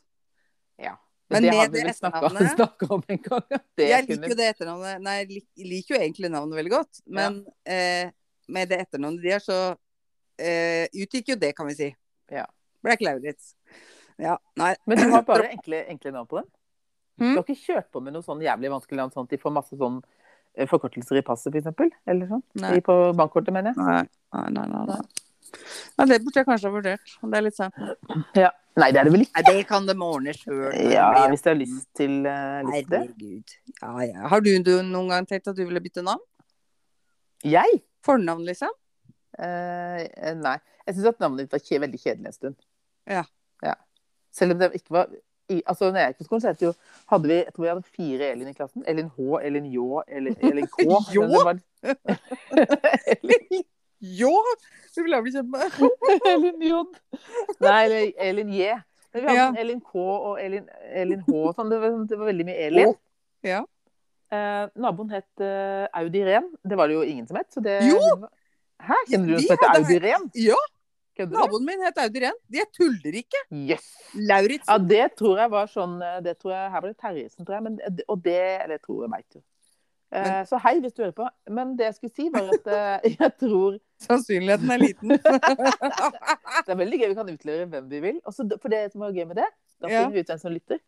[SPEAKER 1] Men
[SPEAKER 2] Men
[SPEAKER 1] det
[SPEAKER 2] med
[SPEAKER 1] har vi
[SPEAKER 2] det
[SPEAKER 1] vel snakka
[SPEAKER 2] etternavnet-
[SPEAKER 1] om en gang. at Det
[SPEAKER 2] Jeg
[SPEAKER 1] kunne-
[SPEAKER 2] liker jo det etternavnet Nei, jeg lik, liker jo egentlig navnet veldig godt, men eh, med det etternavnet de har, så eh, utgikk jo det, kan vi si.
[SPEAKER 1] Ja.
[SPEAKER 2] Ble ikke Lauritz. Ja, nei.
[SPEAKER 1] Men du har bare enkle, enkle navn på dem?
[SPEAKER 2] Mm.
[SPEAKER 1] Du har ikke kjørt på med noe sånn jævlig vanskelig navn, sånn at de får masse sånn eh, forkortelser i passet, for eksempel? Eller sånn?
[SPEAKER 2] Nei.
[SPEAKER 1] I på bankkortet, mener jeg.
[SPEAKER 2] Nei, nei, nei. nei, nei. Ja, det burde jeg kanskje ha vurdert. Det er litt seint.
[SPEAKER 1] Ja. Nei, det er det vel ikke.
[SPEAKER 2] Nei, det kan de ordne sjøl.
[SPEAKER 1] Ja, hvis de har lyst til, eh, lyst til det.
[SPEAKER 2] Herregud. Ja, ja. Har du, du noen gang tenkt at du ville bytte navn?
[SPEAKER 1] Jeg?
[SPEAKER 2] Fornavn, liksom?
[SPEAKER 1] Eh, nei. Jeg syns at navnet ditt var kje, veldig kjedelig en stund.
[SPEAKER 2] Ja.
[SPEAKER 1] Selv om det ikke var i, altså, når jeg gikk på skolen, så het det jo hadde vi, Jeg tror vi hadde fire Elin i klassen. Elin H, Elin Ljå, Elin, Elin K.
[SPEAKER 2] Ljå?
[SPEAKER 1] Det var- Elin,
[SPEAKER 2] Jo! Du ville ha blitt kjent med
[SPEAKER 1] Elin J. Nei, eller Elin J. Men vi hadde
[SPEAKER 2] Ja.
[SPEAKER 1] sånn Elin K og Elin, Elin H. og Sånn. Det, var, sånn- det var veldig mye Elin.
[SPEAKER 2] Å, ja.
[SPEAKER 1] Eh, naboen het eh, Audi Ren. Det var det jo ingen som het. Så det,
[SPEAKER 2] Jo!
[SPEAKER 1] Hæ? Kjenner du noen
[SPEAKER 2] Vi
[SPEAKER 1] som heter
[SPEAKER 2] hadde-
[SPEAKER 1] Audi Ren?
[SPEAKER 2] Ja,
[SPEAKER 1] Kødder du?
[SPEAKER 2] naboen min het Audi Rehn. Jeg tuller ikke.
[SPEAKER 1] Yes. Ja,
[SPEAKER 2] Lauritzen.
[SPEAKER 1] det tror jeg var sånn eh, det tror jeg, Her var det Terjesen, tror jeg. Men, og det Eller jeg tror jeg veit jo. Eh,
[SPEAKER 2] Men-
[SPEAKER 1] Så hei, hvis du hører på. Men det jeg skulle si, var at eh, jeg tror
[SPEAKER 2] Sannsynligheten er liten.
[SPEAKER 1] Det er veldig gøy vi kan utlevere hvem vi vil. Og så- for det som er gøy med det, da
[SPEAKER 2] Ja.
[SPEAKER 1] finner vi ut hvem som lytter.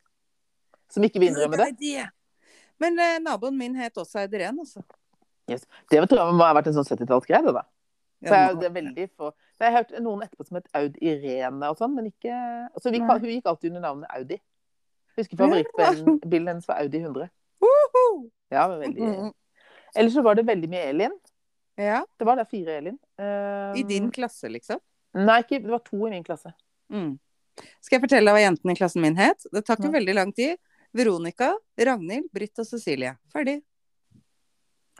[SPEAKER 1] Som ikke vil innrømme det.
[SPEAKER 2] er det. Men eh, naboen min het også Audi Rehn, altså.
[SPEAKER 1] Det tror jeg må ha vært en sånn 70-tallsgreie, det da.
[SPEAKER 2] Ja,
[SPEAKER 1] For jeg,
[SPEAKER 2] nå-
[SPEAKER 1] det er veldig få Jeg har hørt noen etterpå som het Aud Irene og sånn, men ikke altså, vi,
[SPEAKER 2] Nei.
[SPEAKER 1] Hun gikk alltid under navnet Audi. Husker favorittbilen hennes var Audi 100.
[SPEAKER 2] Woho! Mm,
[SPEAKER 1] Ja, men veldig Eller så var det veldig mye Elin.
[SPEAKER 2] Ja,
[SPEAKER 1] Det var da fire Elin. Eh,
[SPEAKER 2] I din klasse, liksom.
[SPEAKER 1] Nei, ikke, det var to i min klasse.
[SPEAKER 2] Mm. Skal jeg fortelle deg hva jentene i klassen min het? Det tar ikke
[SPEAKER 1] Ja.
[SPEAKER 2] veldig lang tid. Veronica, Ragnhild, Britt og Cecilie. Ferdig.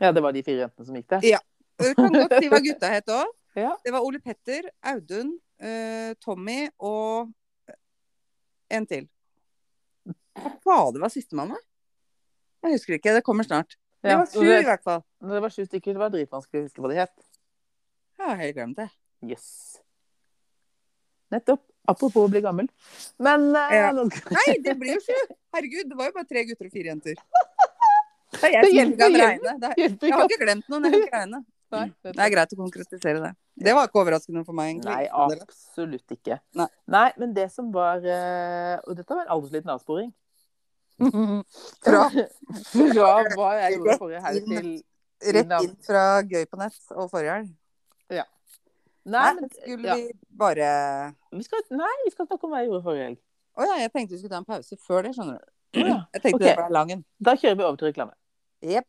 [SPEAKER 1] Ja, det var de fire jentene som gikk der.
[SPEAKER 2] Ja. Du kan godt si hva gutta het òg.
[SPEAKER 1] Ja.
[SPEAKER 2] Det var Ole Petter, Audun, eh, Tommy og eh, en til. Hva fader var sistemann, da? Jeg husker ikke. Det kommer snart. Det
[SPEAKER 1] Ja,
[SPEAKER 2] var
[SPEAKER 1] så
[SPEAKER 2] sju, i
[SPEAKER 1] det,
[SPEAKER 2] hvert fall.
[SPEAKER 1] det var sju stykker. Det var dritvanskelig å huske hva de het.
[SPEAKER 2] Jeg har helt glemt det.
[SPEAKER 1] Jøss. Yes. Nettopp. Apropos å bli gammel. Men eh,
[SPEAKER 2] Ja.
[SPEAKER 1] nå-
[SPEAKER 2] Nei, det blir jo sju! Herregud, det var jo bare tre gutter og fire jenter. Det er
[SPEAKER 1] Det
[SPEAKER 2] jeg som
[SPEAKER 1] hjelper,
[SPEAKER 2] ikke kan
[SPEAKER 1] hjelper.
[SPEAKER 2] regne. Det er,
[SPEAKER 1] hjelper
[SPEAKER 2] jeg
[SPEAKER 1] ikke
[SPEAKER 2] har ikke glemt noen. Jeg kan ikke regne.
[SPEAKER 1] at-
[SPEAKER 2] Det er greit å konkretisere det. Det var ikke overraskende for meg, egentlig.
[SPEAKER 1] Nei, absolutt ikke.
[SPEAKER 2] Nei.
[SPEAKER 1] men det som var eh, Og dette var en aldersliten avsporing.
[SPEAKER 2] Fra,
[SPEAKER 1] Fra hva jeg gjorde forrige helg til
[SPEAKER 2] rett inn fra Gøy på nett og forrige helg. Nei,
[SPEAKER 1] Nei, men
[SPEAKER 2] men skulle
[SPEAKER 1] ja.
[SPEAKER 2] vi bare
[SPEAKER 1] vi skal, nei, vi skal snakke om hva jeg gjorde forrige helg.
[SPEAKER 2] Å ja, jeg tenkte vi skulle ta en pause før det, skjønner du.
[SPEAKER 1] Ja.
[SPEAKER 2] Jeg tenkte
[SPEAKER 1] Ok.
[SPEAKER 2] det ble lang en.
[SPEAKER 1] Da kjører vi over til reklame.
[SPEAKER 2] Jep.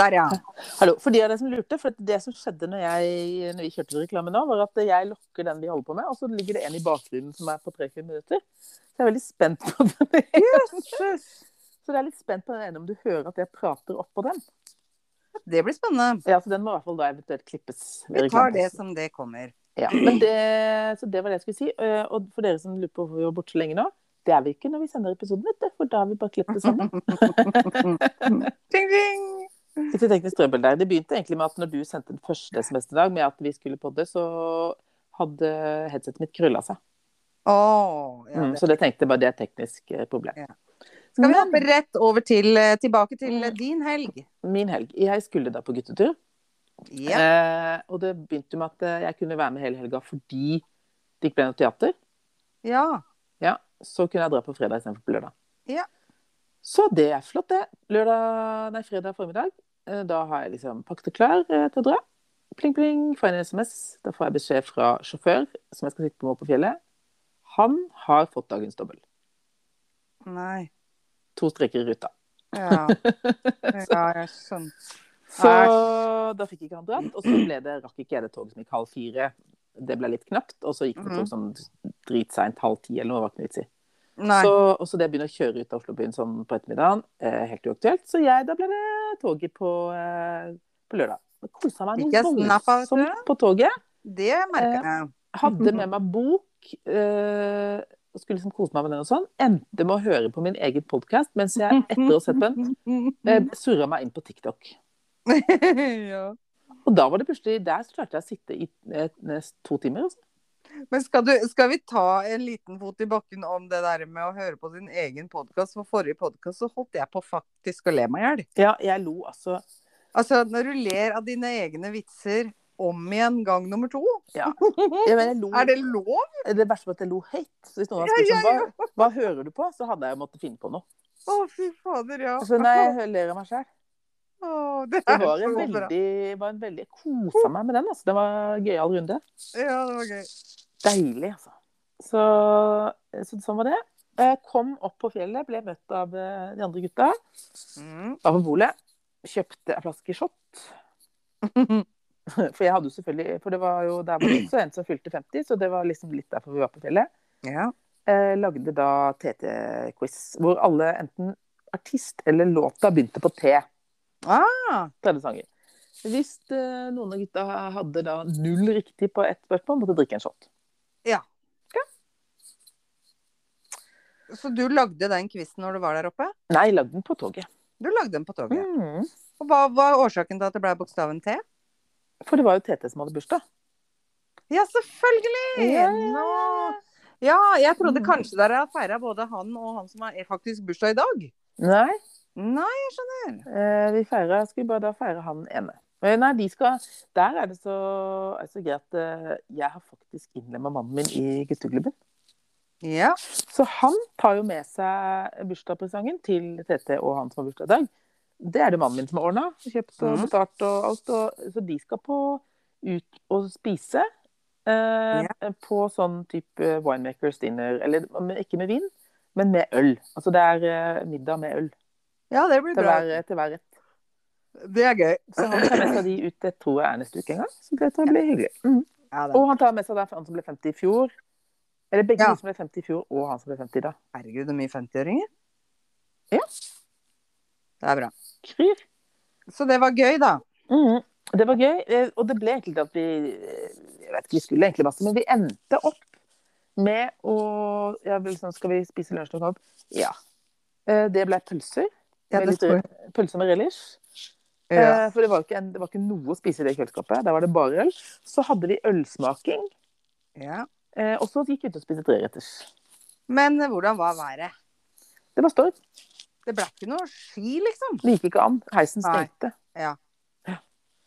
[SPEAKER 2] Der, ja.
[SPEAKER 1] Hallo, for de av dere som lurte, for det som skjedde når, jeg, når vi kjørte til reklame nå, var at jeg lokker den vi holder på med, og så ligger det en i bakgrunnen som er på tre-fire minutter. Så jeg er veldig spent på den. Så jeg er litt spent på den ene om du hører at jeg prater oppå den.
[SPEAKER 2] Det blir spennende.
[SPEAKER 1] Ja, så den må i hvert fall da eventuelt klippes. ved
[SPEAKER 2] Vi tar det
[SPEAKER 1] reklameposten.
[SPEAKER 2] som det kommer.
[SPEAKER 1] Ja, men det, så det var det jeg skulle si. Eh, Og for dere som lurer på hvorfor vi var borte så lenge nå, det er vi ikke når vi sender episoden, vet du. For da har vi bare klippet det sammen.
[SPEAKER 2] Ding, ding.
[SPEAKER 1] Litt teknisk trøbbel der. Det begynte egentlig med at når du sendte den første SMS i dag med at vi skulle podde, så hadde headsetet mitt krølla seg.
[SPEAKER 2] Å, ja,
[SPEAKER 1] Mm,
[SPEAKER 2] det.
[SPEAKER 1] så det tenkte jeg bare det er et teknisk eh, problem.
[SPEAKER 2] Ja. Skal vi hoppe rett over til, eh, tilbake til eh,
[SPEAKER 1] Mm.
[SPEAKER 2] din helg?
[SPEAKER 1] Min helg. Jeg skulle da på guttetur.
[SPEAKER 2] Ja.
[SPEAKER 1] Eh, og det begynte med at eh, jeg kunne være med hele helga fordi det ikke ble noe teater.
[SPEAKER 2] ja.
[SPEAKER 1] Ja, så kunne jeg dra på fredag istedenfor på lørdag.
[SPEAKER 2] Ja.
[SPEAKER 1] Så det er flott, det. Lørdag, nei, fredag formiddag. eh, Da har jeg liksom pakket og klar eh, til å dra. Pling, pling, får jeg en SMS. Da får jeg beskjed fra sjåfør, som jeg skal sitte med oppe på fjellet. Han har fått dagens dobbel.
[SPEAKER 2] Nei.
[SPEAKER 1] To streker i ruta.
[SPEAKER 2] Ja. ja, jeg skjønte.
[SPEAKER 1] Så
[SPEAKER 2] Æsj.
[SPEAKER 1] da fikk ikke han dratt. Og så ble det, rakk ikke jeg det toget som gikk halv fire. Det ble litt knapt. Og så
[SPEAKER 2] Mhm.
[SPEAKER 1] gikk det tog sånn dritseint halv ti eller noe. Var ikke noe vits i.
[SPEAKER 2] Nei.
[SPEAKER 1] Så, og så det begynner å kjøre ut av Oslobyen sånn på ettermiddagen. Eh, helt uaktuelt. Så jeg, da ble det toget på, eh, på lørdag. Jeg Kosa meg
[SPEAKER 2] Fikk jeg
[SPEAKER 1] noe
[SPEAKER 2] snap av dette?
[SPEAKER 1] voldsomt på toget.
[SPEAKER 2] Det merker jeg.
[SPEAKER 1] Hadde med meg bok. Eh, og skulle liksom kose meg med den og sånn. Endte med å høre på min egen podkast mens jeg etter å ha sett på den, eh, surra meg inn på TikTok.
[SPEAKER 2] ja.
[SPEAKER 1] Og da var det plutselig Der klarte jeg å sitte i eh, nes- to timer. Altså.
[SPEAKER 2] Men skal, du, skal vi ta en liten fot i bakken om det der med å høre på din egen podkast? For forrige podkast så holdt jeg på faktisk å le meg i hjel.
[SPEAKER 1] Ja, jeg lo altså
[SPEAKER 2] Altså, når du ler av dine egne vitser om igjen gang nummer to?
[SPEAKER 1] Jeg mener, jeg lo,
[SPEAKER 2] Er det lov?
[SPEAKER 1] det verste var at jeg lo høyt. Så hvis noen hadde
[SPEAKER 2] Ja,
[SPEAKER 1] spurt
[SPEAKER 2] ja,
[SPEAKER 1] sånn, hva, hva hører du på, så hadde jeg måttet finne på noe.
[SPEAKER 2] Å, fy fader, ja.
[SPEAKER 1] Så Altså, nei, jeg hø- ler av meg sjøl.
[SPEAKER 2] Å, det
[SPEAKER 1] Det
[SPEAKER 2] er
[SPEAKER 1] var en
[SPEAKER 2] så bra.
[SPEAKER 1] veldig, var en veldig Jeg kosa meg med den. altså. Det var en gøyal runde.
[SPEAKER 2] Ja, det var gøy.
[SPEAKER 1] Deilig, altså. Så, så sånn var det. Jeg kom opp på fjellet, ble møtt av eh, de andre gutta.
[SPEAKER 2] Mm,
[SPEAKER 1] Da på polet. Kjøpte en flaske shot. For jeg hadde jo selvfølgelig For det var jo der var det også en som fylte 50, så det var liksom litt derfor vi var på fjellet.
[SPEAKER 2] Ja.
[SPEAKER 1] Eh, lagde da TT-quiz, hvor alle enten artist eller låta begynte på T.
[SPEAKER 2] Ah.
[SPEAKER 1] Tredje sanger. Hvis eh, noen av gutta hadde da null riktig på ett spørsmål, måtte drikke en shot.
[SPEAKER 2] Så du lagde den quizen når du var der oppe?
[SPEAKER 1] Nei, lagde den på toget.
[SPEAKER 2] Du lagde den på toget.
[SPEAKER 1] Mm.
[SPEAKER 2] Og hva var årsaken til at det ble bokstaven T?
[SPEAKER 1] For det var jo TT som hadde bursdag.
[SPEAKER 2] Ja, selvfølgelig!
[SPEAKER 1] Ja.
[SPEAKER 2] Nå- Ja, jeg trodde
[SPEAKER 1] Mm.
[SPEAKER 2] kanskje dere hadde feira både han og han som har faktisk bursdag i dag.
[SPEAKER 1] Nei,
[SPEAKER 2] Nei, jeg skjønner.
[SPEAKER 1] eh, vi feira Skulle bare da feire han ene. Men nei, de skal Der er det så, er det så greit at eh, jeg har faktisk innlemma mannen min i gutteklubben.
[SPEAKER 2] Ja.
[SPEAKER 1] Så han tar jo med seg bursdagspresangen til TT og han som har bursdag i dag. Det er det mannen min som har ordna. Kjøpt og
[SPEAKER 2] Mhm.
[SPEAKER 1] betalt og alt. Og, så de skal på ut og spise. Eh, På sånn type winemakers dinner. Eller men ikke med vin, men med øl. Altså det er eh, middag med øl
[SPEAKER 2] ja, det blir
[SPEAKER 1] til
[SPEAKER 2] bra.
[SPEAKER 1] hver, til hver rett. eh,
[SPEAKER 2] Det er gøy.
[SPEAKER 1] Så han tar med seg de ut, det tror jeg er neste uke en gang. Så det tror jeg blir hyggelig. Mhm.
[SPEAKER 2] Ja, det
[SPEAKER 1] Og han tar med seg da han som ble 50 i fjor. Eller begge
[SPEAKER 2] Ja.
[SPEAKER 1] de som ble 50 i fjor, og han som ble 50 da.
[SPEAKER 2] Herregud, det er mye 50-åringer.
[SPEAKER 1] Ja.
[SPEAKER 2] Det er bra.
[SPEAKER 1] Kryr.
[SPEAKER 2] Så det var gøy, da.
[SPEAKER 1] Mhm. Det var gøy, eh, og det ble egentlig til at vi eh, Jeg vet ikke, vi skulle egentlig masse, men vi endte opp med å ja, vel, sånn, Skal vi spise lunsj noen gang? Ja. Eh, Det ble pølser.
[SPEAKER 2] Ja,
[SPEAKER 1] med
[SPEAKER 2] det
[SPEAKER 1] litt
[SPEAKER 2] tror jeg.
[SPEAKER 1] rød- pølser med relish.
[SPEAKER 2] Ja.
[SPEAKER 1] Eh, For det var, jo ikke en, det var ikke noe å spise i det kjøleskapet. Der var det bare øl. Så hadde vi ølsmaking,
[SPEAKER 2] Ja.
[SPEAKER 1] eh, og så gikk vi ut og spiste treretters.
[SPEAKER 2] Men eh, hvordan var været?
[SPEAKER 1] Det var storm.
[SPEAKER 2] Det ble ikke noe ski, liksom.
[SPEAKER 1] Det gikk ikke an. Heisen
[SPEAKER 2] Nei.
[SPEAKER 1] stengte.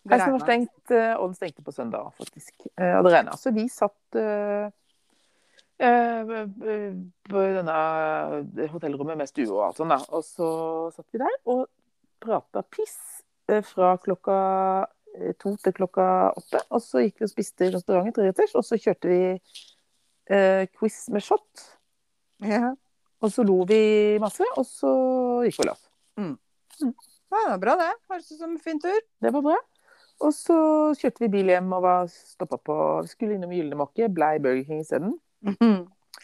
[SPEAKER 2] Det
[SPEAKER 1] Heisen var
[SPEAKER 2] regnet.
[SPEAKER 1] stengt, eh, og den stengte på søndag, faktisk. Eh, Og det regna. Så vi satt eh, eh, på denne hotellrommet med stue og alt sånt, da. Og så satt vi der og prata piss eh, fra klokka eh, to til klokka åtte. Og så gikk vi og spiste i restauranten treretters, og så kjørte vi eh, quiz med shot.
[SPEAKER 2] Ja.
[SPEAKER 1] Og så lo vi masse, og så gikk vi og la oss.
[SPEAKER 2] Ja, det er bra, det. Høres ut som en fin tur.
[SPEAKER 1] Det var bra. Og så kjørte vi bil hjem og var stoppa på Vi skulle innom Gyllenmåke, blei Burger King isteden.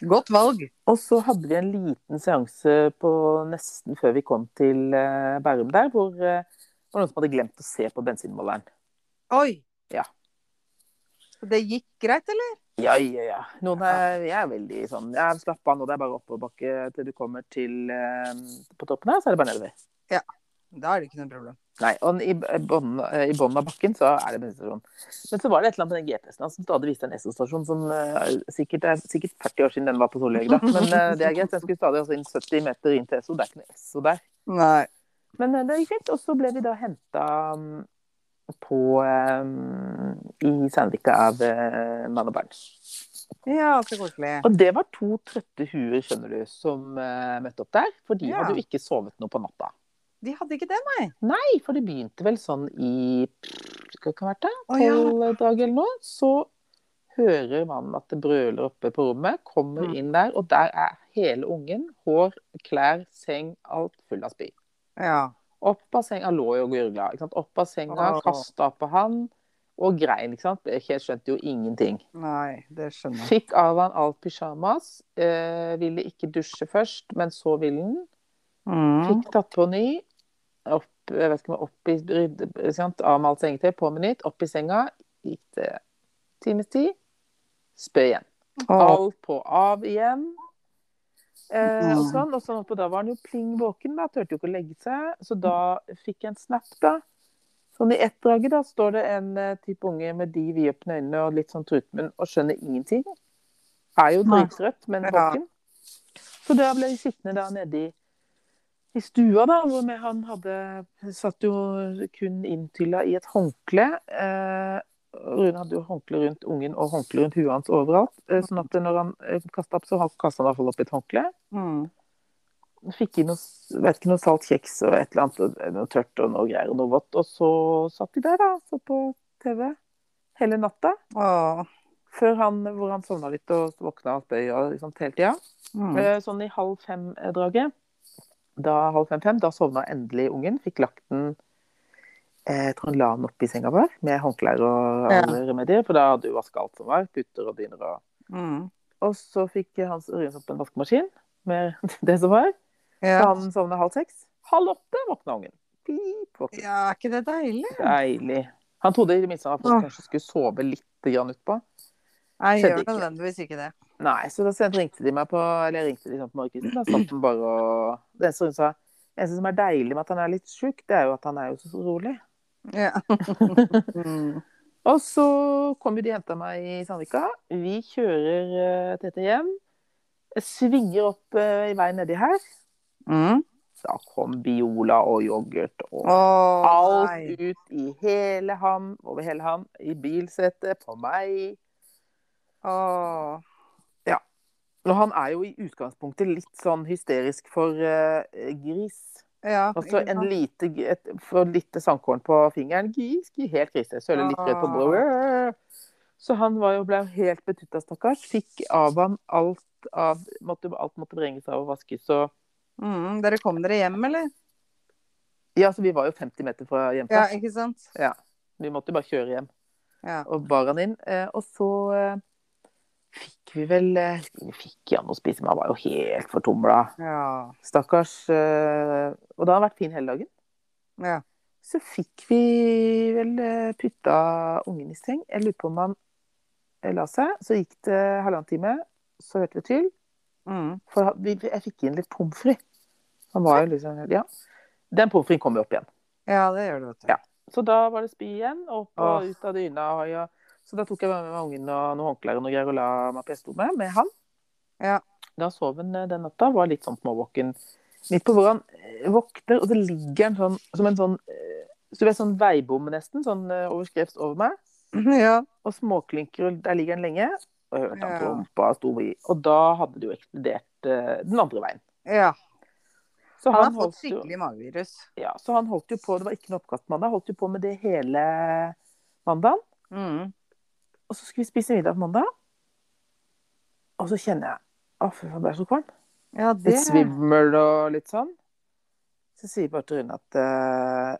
[SPEAKER 2] Godt valg.
[SPEAKER 1] Og så hadde vi en liten seanse på nesten før vi kom til eh, Bærum der, hvor eh, det var noen som hadde glemt å se på bensinmåleren.
[SPEAKER 2] Oi.
[SPEAKER 1] Ja.
[SPEAKER 2] Så det gikk greit, eller?
[SPEAKER 1] Ja, ja, ja. Noen er, jeg er veldig sånn ja, Slapp av nå, det er bare oppoverbakke til du kommer til eh, På toppen her, så er det bare nedover.
[SPEAKER 2] Da er det ikke noe problem.
[SPEAKER 1] Nei, og i bånn i bånn av bakken så er det bensinstasjon. Men så var det et eller annet med den GPS-en hans som stadig viste en Esso-stasjon som eh, sikkert er sikkert 40 år siden den var på Solhjøg, da. Men eh, det er greit. Den skulle stadig også inn 70 meter inn til Esso. Det er ikke noe Esso der.
[SPEAKER 2] Nei.
[SPEAKER 1] Men eh, det gikk fint. Og så ble vi da henta på eh, i Sandvika av eh, mann og barn.
[SPEAKER 2] Ja, så koselig.
[SPEAKER 1] Og det var to trøtte huer, skjønner du, som eh, møtte opp der. For de
[SPEAKER 2] Ja.
[SPEAKER 1] hadde jo ikke sovet noe på natta.
[SPEAKER 2] De hadde ikke det, nei.
[SPEAKER 1] Nei, for det begynte vel sånn i Skal ikke ha vært det?
[SPEAKER 2] Å, ja.
[SPEAKER 1] tolv dager eller noe, så hører mannen at det brøler oppe på rommet, kommer
[SPEAKER 2] Mm.
[SPEAKER 1] inn der, og der er hele ungen, hår, klær, seng, alt full av spy.
[SPEAKER 2] Ja.
[SPEAKER 1] Opp av senga, han lå jo og gurgla, ikke sant. Opp av senga,
[SPEAKER 2] Åh.
[SPEAKER 1] kasta på han, og grein, ikke sant. Jeg skjønte jo ingenting.
[SPEAKER 2] Nei, det skjønner jeg.
[SPEAKER 1] Fikk av han alt pysjamas, eh, ville ikke dusje først, men så ville han.
[SPEAKER 2] Mm.
[SPEAKER 1] Fikk tatt på ny. Opp, jeg vet ikke om jeg opp i rydde, ikke sant? Avmalt sengetøy, på med nytt. Opp i senga. Gikk det times tid. Spø igjen.
[SPEAKER 2] Å,
[SPEAKER 1] Alt på av igjen. Eh,
[SPEAKER 2] Mm.
[SPEAKER 1] og sånn, og sånn oppå da var han jo pling våken, da. Turte jo ikke å legge seg. Så da fikk jeg en snap, da. Sånn i ett draget, da, står det en eh, type unge med de vidåpne øynene og litt sånn trutmunn og skjønner ingenting. Er jo
[SPEAKER 2] Nei.
[SPEAKER 1] drittrøtt, men
[SPEAKER 2] Ja.
[SPEAKER 1] våken. Så da ble vi sittende da nede i, i stua, da, hvor med han hadde Satt jo kun inntylla i et håndkle. Eh, Rune hadde jo håndkle rundt ungen og håndkle rundt huet hans overalt. eh, Sånn at når han kasta opp, så kasta han i hvert fall opp et håndkle.
[SPEAKER 2] Mm.
[SPEAKER 1] Fikk i noe, vet ikke, noe salt kjeks og et eller annet, og noe tørt og noe greier og noe vått. Og så satt de der, da, så på TV hele natta.
[SPEAKER 2] Åh.
[SPEAKER 1] Før han, hvor han sovna litt og våkna av støy og liksom hele tida.
[SPEAKER 2] Mm.
[SPEAKER 1] Eh, Sånn i halv fem-draget, da halv fem-fem, da sovna endelig ungen. Fikk lagt den eh, Jeg tror han la den oppi senga vår med håndklær og alle remedier, for da hadde hun vaska alt som var. Puter og dyner og
[SPEAKER 2] Mm.
[SPEAKER 1] Og så fikk Hans Ørjen opp en vaskemaskin med det som var. Så
[SPEAKER 2] Ja.
[SPEAKER 1] han sovna halv seks. Halv åtte våkna ungen. Pip, våkna.
[SPEAKER 2] ja, er ikke det deilig?
[SPEAKER 1] Deilig. Han trodde i det minste at han kanskje skulle sove litt grann utpå.
[SPEAKER 2] Jeg
[SPEAKER 1] Skjedde
[SPEAKER 2] gjør
[SPEAKER 1] ikke.
[SPEAKER 2] nødvendigvis ikke det.
[SPEAKER 1] Nei, så da sendte- ringte de meg på Eller jeg ringte de sånn på morgenkvisten. Da satt den bare og Det eneste hun sa det eneste som er deilig med at han er litt sjuk, det er jo at han er jo så rolig.
[SPEAKER 2] Ja. mm.
[SPEAKER 1] Og så kom jo de og henta meg i Sandvika. Vi kjører eh, Tete hjem. Jeg svinger opp eh, i veien nedi her.
[SPEAKER 2] Mm.
[SPEAKER 1] Da kom Biola og yoghurt og
[SPEAKER 2] Åh, nei.
[SPEAKER 1] alt ut i hele ham, over hele ham. I bilsetet, på meg.
[SPEAKER 2] Åh.
[SPEAKER 1] Og han er jo i utgangspunktet litt sånn hysterisk for eh, gris.
[SPEAKER 2] Ja,
[SPEAKER 1] Og så
[SPEAKER 2] ikke
[SPEAKER 1] en
[SPEAKER 2] sant?
[SPEAKER 1] lite, et for lite sandkorn på fingeren. Gis, gi, helt krise. Søle litt grøt på bordet. Så han var jo, ble jo helt betutta, stakkars. Fikk av han alt av måtte, Alt måtte bringes av og vaskes. Og,
[SPEAKER 2] mm. Dere kom dere hjem, eller?
[SPEAKER 1] ja, så vi var jo 50 meter fra
[SPEAKER 2] Ja,
[SPEAKER 1] hjemplass.
[SPEAKER 2] ikke sant?
[SPEAKER 1] Vi måtte jo bare kjøre hjem.
[SPEAKER 2] Ja.
[SPEAKER 1] Og bar han inn. Eh, Og så eh, fikk vi vel eh, Vi fikk han noe å spise, men han var jo helt fortumla.
[SPEAKER 2] Ja.
[SPEAKER 1] Stakkars. eh, Og da har han vært fin hele dagen.
[SPEAKER 2] Ja.
[SPEAKER 1] Så fikk vi vel eh, putta ungen i seng. Jeg lurer på om han eh, la seg. Så gikk det halvannen time, så hørte vi til.
[SPEAKER 2] Mm.
[SPEAKER 1] For han- vi- jeg fikk inn litt pommes frites. Han var jo liksom Ja. Den pommes fritesen kom jo opp igjen.
[SPEAKER 2] ja, det gjør du, vet du.
[SPEAKER 1] Ja. Så da var det spy igjen, og opp og
[SPEAKER 2] Åh.
[SPEAKER 1] ut av dyna. Og, ja. Så da tok jeg bare med meg ungen og noen håndklær og noe greier og la meg på gjesterommet med han.
[SPEAKER 2] Ja.
[SPEAKER 1] Da sov han eh, den natta. Var litt sånn småvåken midt på hvor han eh, våkner, og så ligger han sånn som en sånn eh, så du vet, sånn veibom nesten, sånn eh, overskrevs over meg.
[SPEAKER 2] Ja.
[SPEAKER 1] Og småklynker, og der ligger han lenge. Og jeg hørte han
[SPEAKER 2] Ja.
[SPEAKER 1] prompa og sto i. Og da hadde det jo eksplodert eh, den andre veien.
[SPEAKER 2] ja.
[SPEAKER 1] Så
[SPEAKER 2] Han har fått
[SPEAKER 1] holdt jo,
[SPEAKER 2] skikkelig magevirus.
[SPEAKER 1] ja, så han holdt jo på, det var ikke noe oppkast mandag, holdt jo på med det hele mandagen.
[SPEAKER 2] Mm.
[SPEAKER 1] Og så skulle vi spise middag på mandag. Og så kjenner jeg Å, fy faen, det er så kvalm.
[SPEAKER 2] Ja, det
[SPEAKER 1] Litt svimmel og litt sånn. Så sier jeg bare til Rune at eh,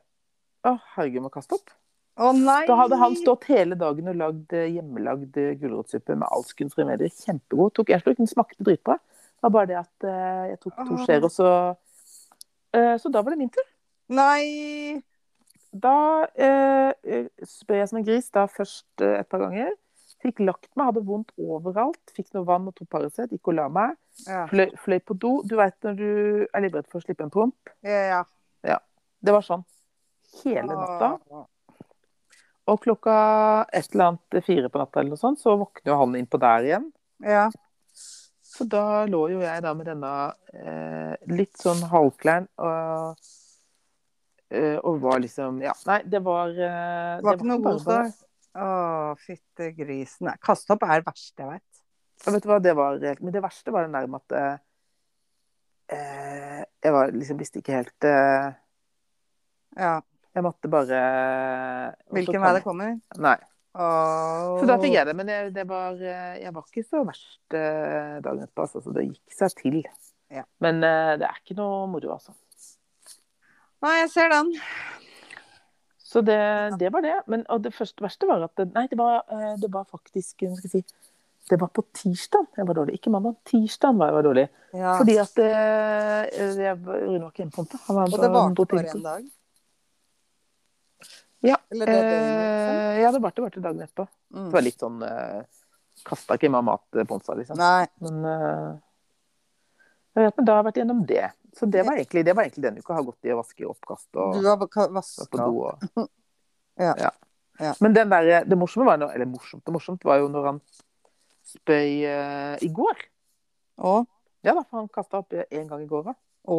[SPEAKER 1] Å, herregud, må kaste opp.
[SPEAKER 2] Å nei!
[SPEAKER 1] Da hadde han stått hele dagen og lagd eh, hjemmelagd eh, gulrotsuppe med alskens remedier. Kjempegod. Tok en slurk, den smakte dritbra. Det var bare det at eh, jeg tok to
[SPEAKER 2] Åh.
[SPEAKER 1] skjeer, og så Eh, Så da var det min tur.
[SPEAKER 2] Nei!
[SPEAKER 1] Da eh, eh, spør jeg som en gris, da først eh, et par ganger. Fikk lagt meg, hadde vondt overalt. Fikk noe vann og to Paracet, gikk og la meg.
[SPEAKER 2] Ja.
[SPEAKER 1] Fløy, fløy på do. Du veit når du er livredd for å slippe en promp.
[SPEAKER 2] ja, ja.
[SPEAKER 1] Det var sånn hele natta.
[SPEAKER 2] Åh.
[SPEAKER 1] Og klokka et eller annet fire på natta eller noe sånt, så våkner jo han innpå der igjen.
[SPEAKER 2] Ja.
[SPEAKER 1] Så da lå jo jeg da med denne eh, litt sånn halvklærn og, eh, og var liksom Ja, nei, det var eh,
[SPEAKER 2] Det var ikke noe god
[SPEAKER 1] bare-
[SPEAKER 2] start. Å, fytte grisen. Nei, Kaste opp er det verste jeg vet.
[SPEAKER 1] Ja, Vet du hva, det var helt Men det verste var det nærme at eh, eh, Jeg var liksom visste ikke helt eh,
[SPEAKER 2] Ja.
[SPEAKER 1] Jeg måtte bare eh,
[SPEAKER 2] Hvilken vei det kommer.
[SPEAKER 1] Nei.
[SPEAKER 2] Åh.
[SPEAKER 1] Så da fikk jeg det. Men jeg, det var, eh, jeg var ikke så verst eh, dagen etterpå, altså. Så det gikk seg til.
[SPEAKER 2] Ja.
[SPEAKER 1] Men eh, det er ikke noe moro, altså.
[SPEAKER 2] Nei, jeg ser den.
[SPEAKER 1] Så det, det var det. Men, og det første verste var at det, Nei, det var, eh, det var faktisk hva skal jeg si, Det var på tirsdag jeg var dårlig. Ikke mandag. Tirsdag var jeg var dårlig.
[SPEAKER 2] Ja.
[SPEAKER 1] Fordi at eh, jeg, Rune var ikke hjemme på onsdag. Han var
[SPEAKER 2] Og
[SPEAKER 1] på
[SPEAKER 2] det varte
[SPEAKER 1] Nordpilsen.
[SPEAKER 2] bare en dag?
[SPEAKER 1] Ja.
[SPEAKER 2] Eller det døgnet?
[SPEAKER 1] Eh, ja, det varte varte dagen etterpå.
[SPEAKER 2] liksom?
[SPEAKER 1] Det var litt sånn eh, Kasta ikke meg mat eh, på onsdag, liksom.
[SPEAKER 2] Nei.
[SPEAKER 1] Men eh, jeg vet, men da har jeg vært gjennom det. Så det var egentlig, det var egentlig denne uka. Har gått i å vaske oppkast og
[SPEAKER 2] Du har ka-
[SPEAKER 1] Vært på
[SPEAKER 2] vaska
[SPEAKER 1] do
[SPEAKER 2] opp.
[SPEAKER 1] og
[SPEAKER 2] Ja. Ja.
[SPEAKER 1] Men den der, eh, det morsomme var når, Eller morsomt og morsomt var jo når han spøy eh, i går.
[SPEAKER 2] Å.
[SPEAKER 1] Ja da, for han kasta opp en gang i går òg.
[SPEAKER 2] Å.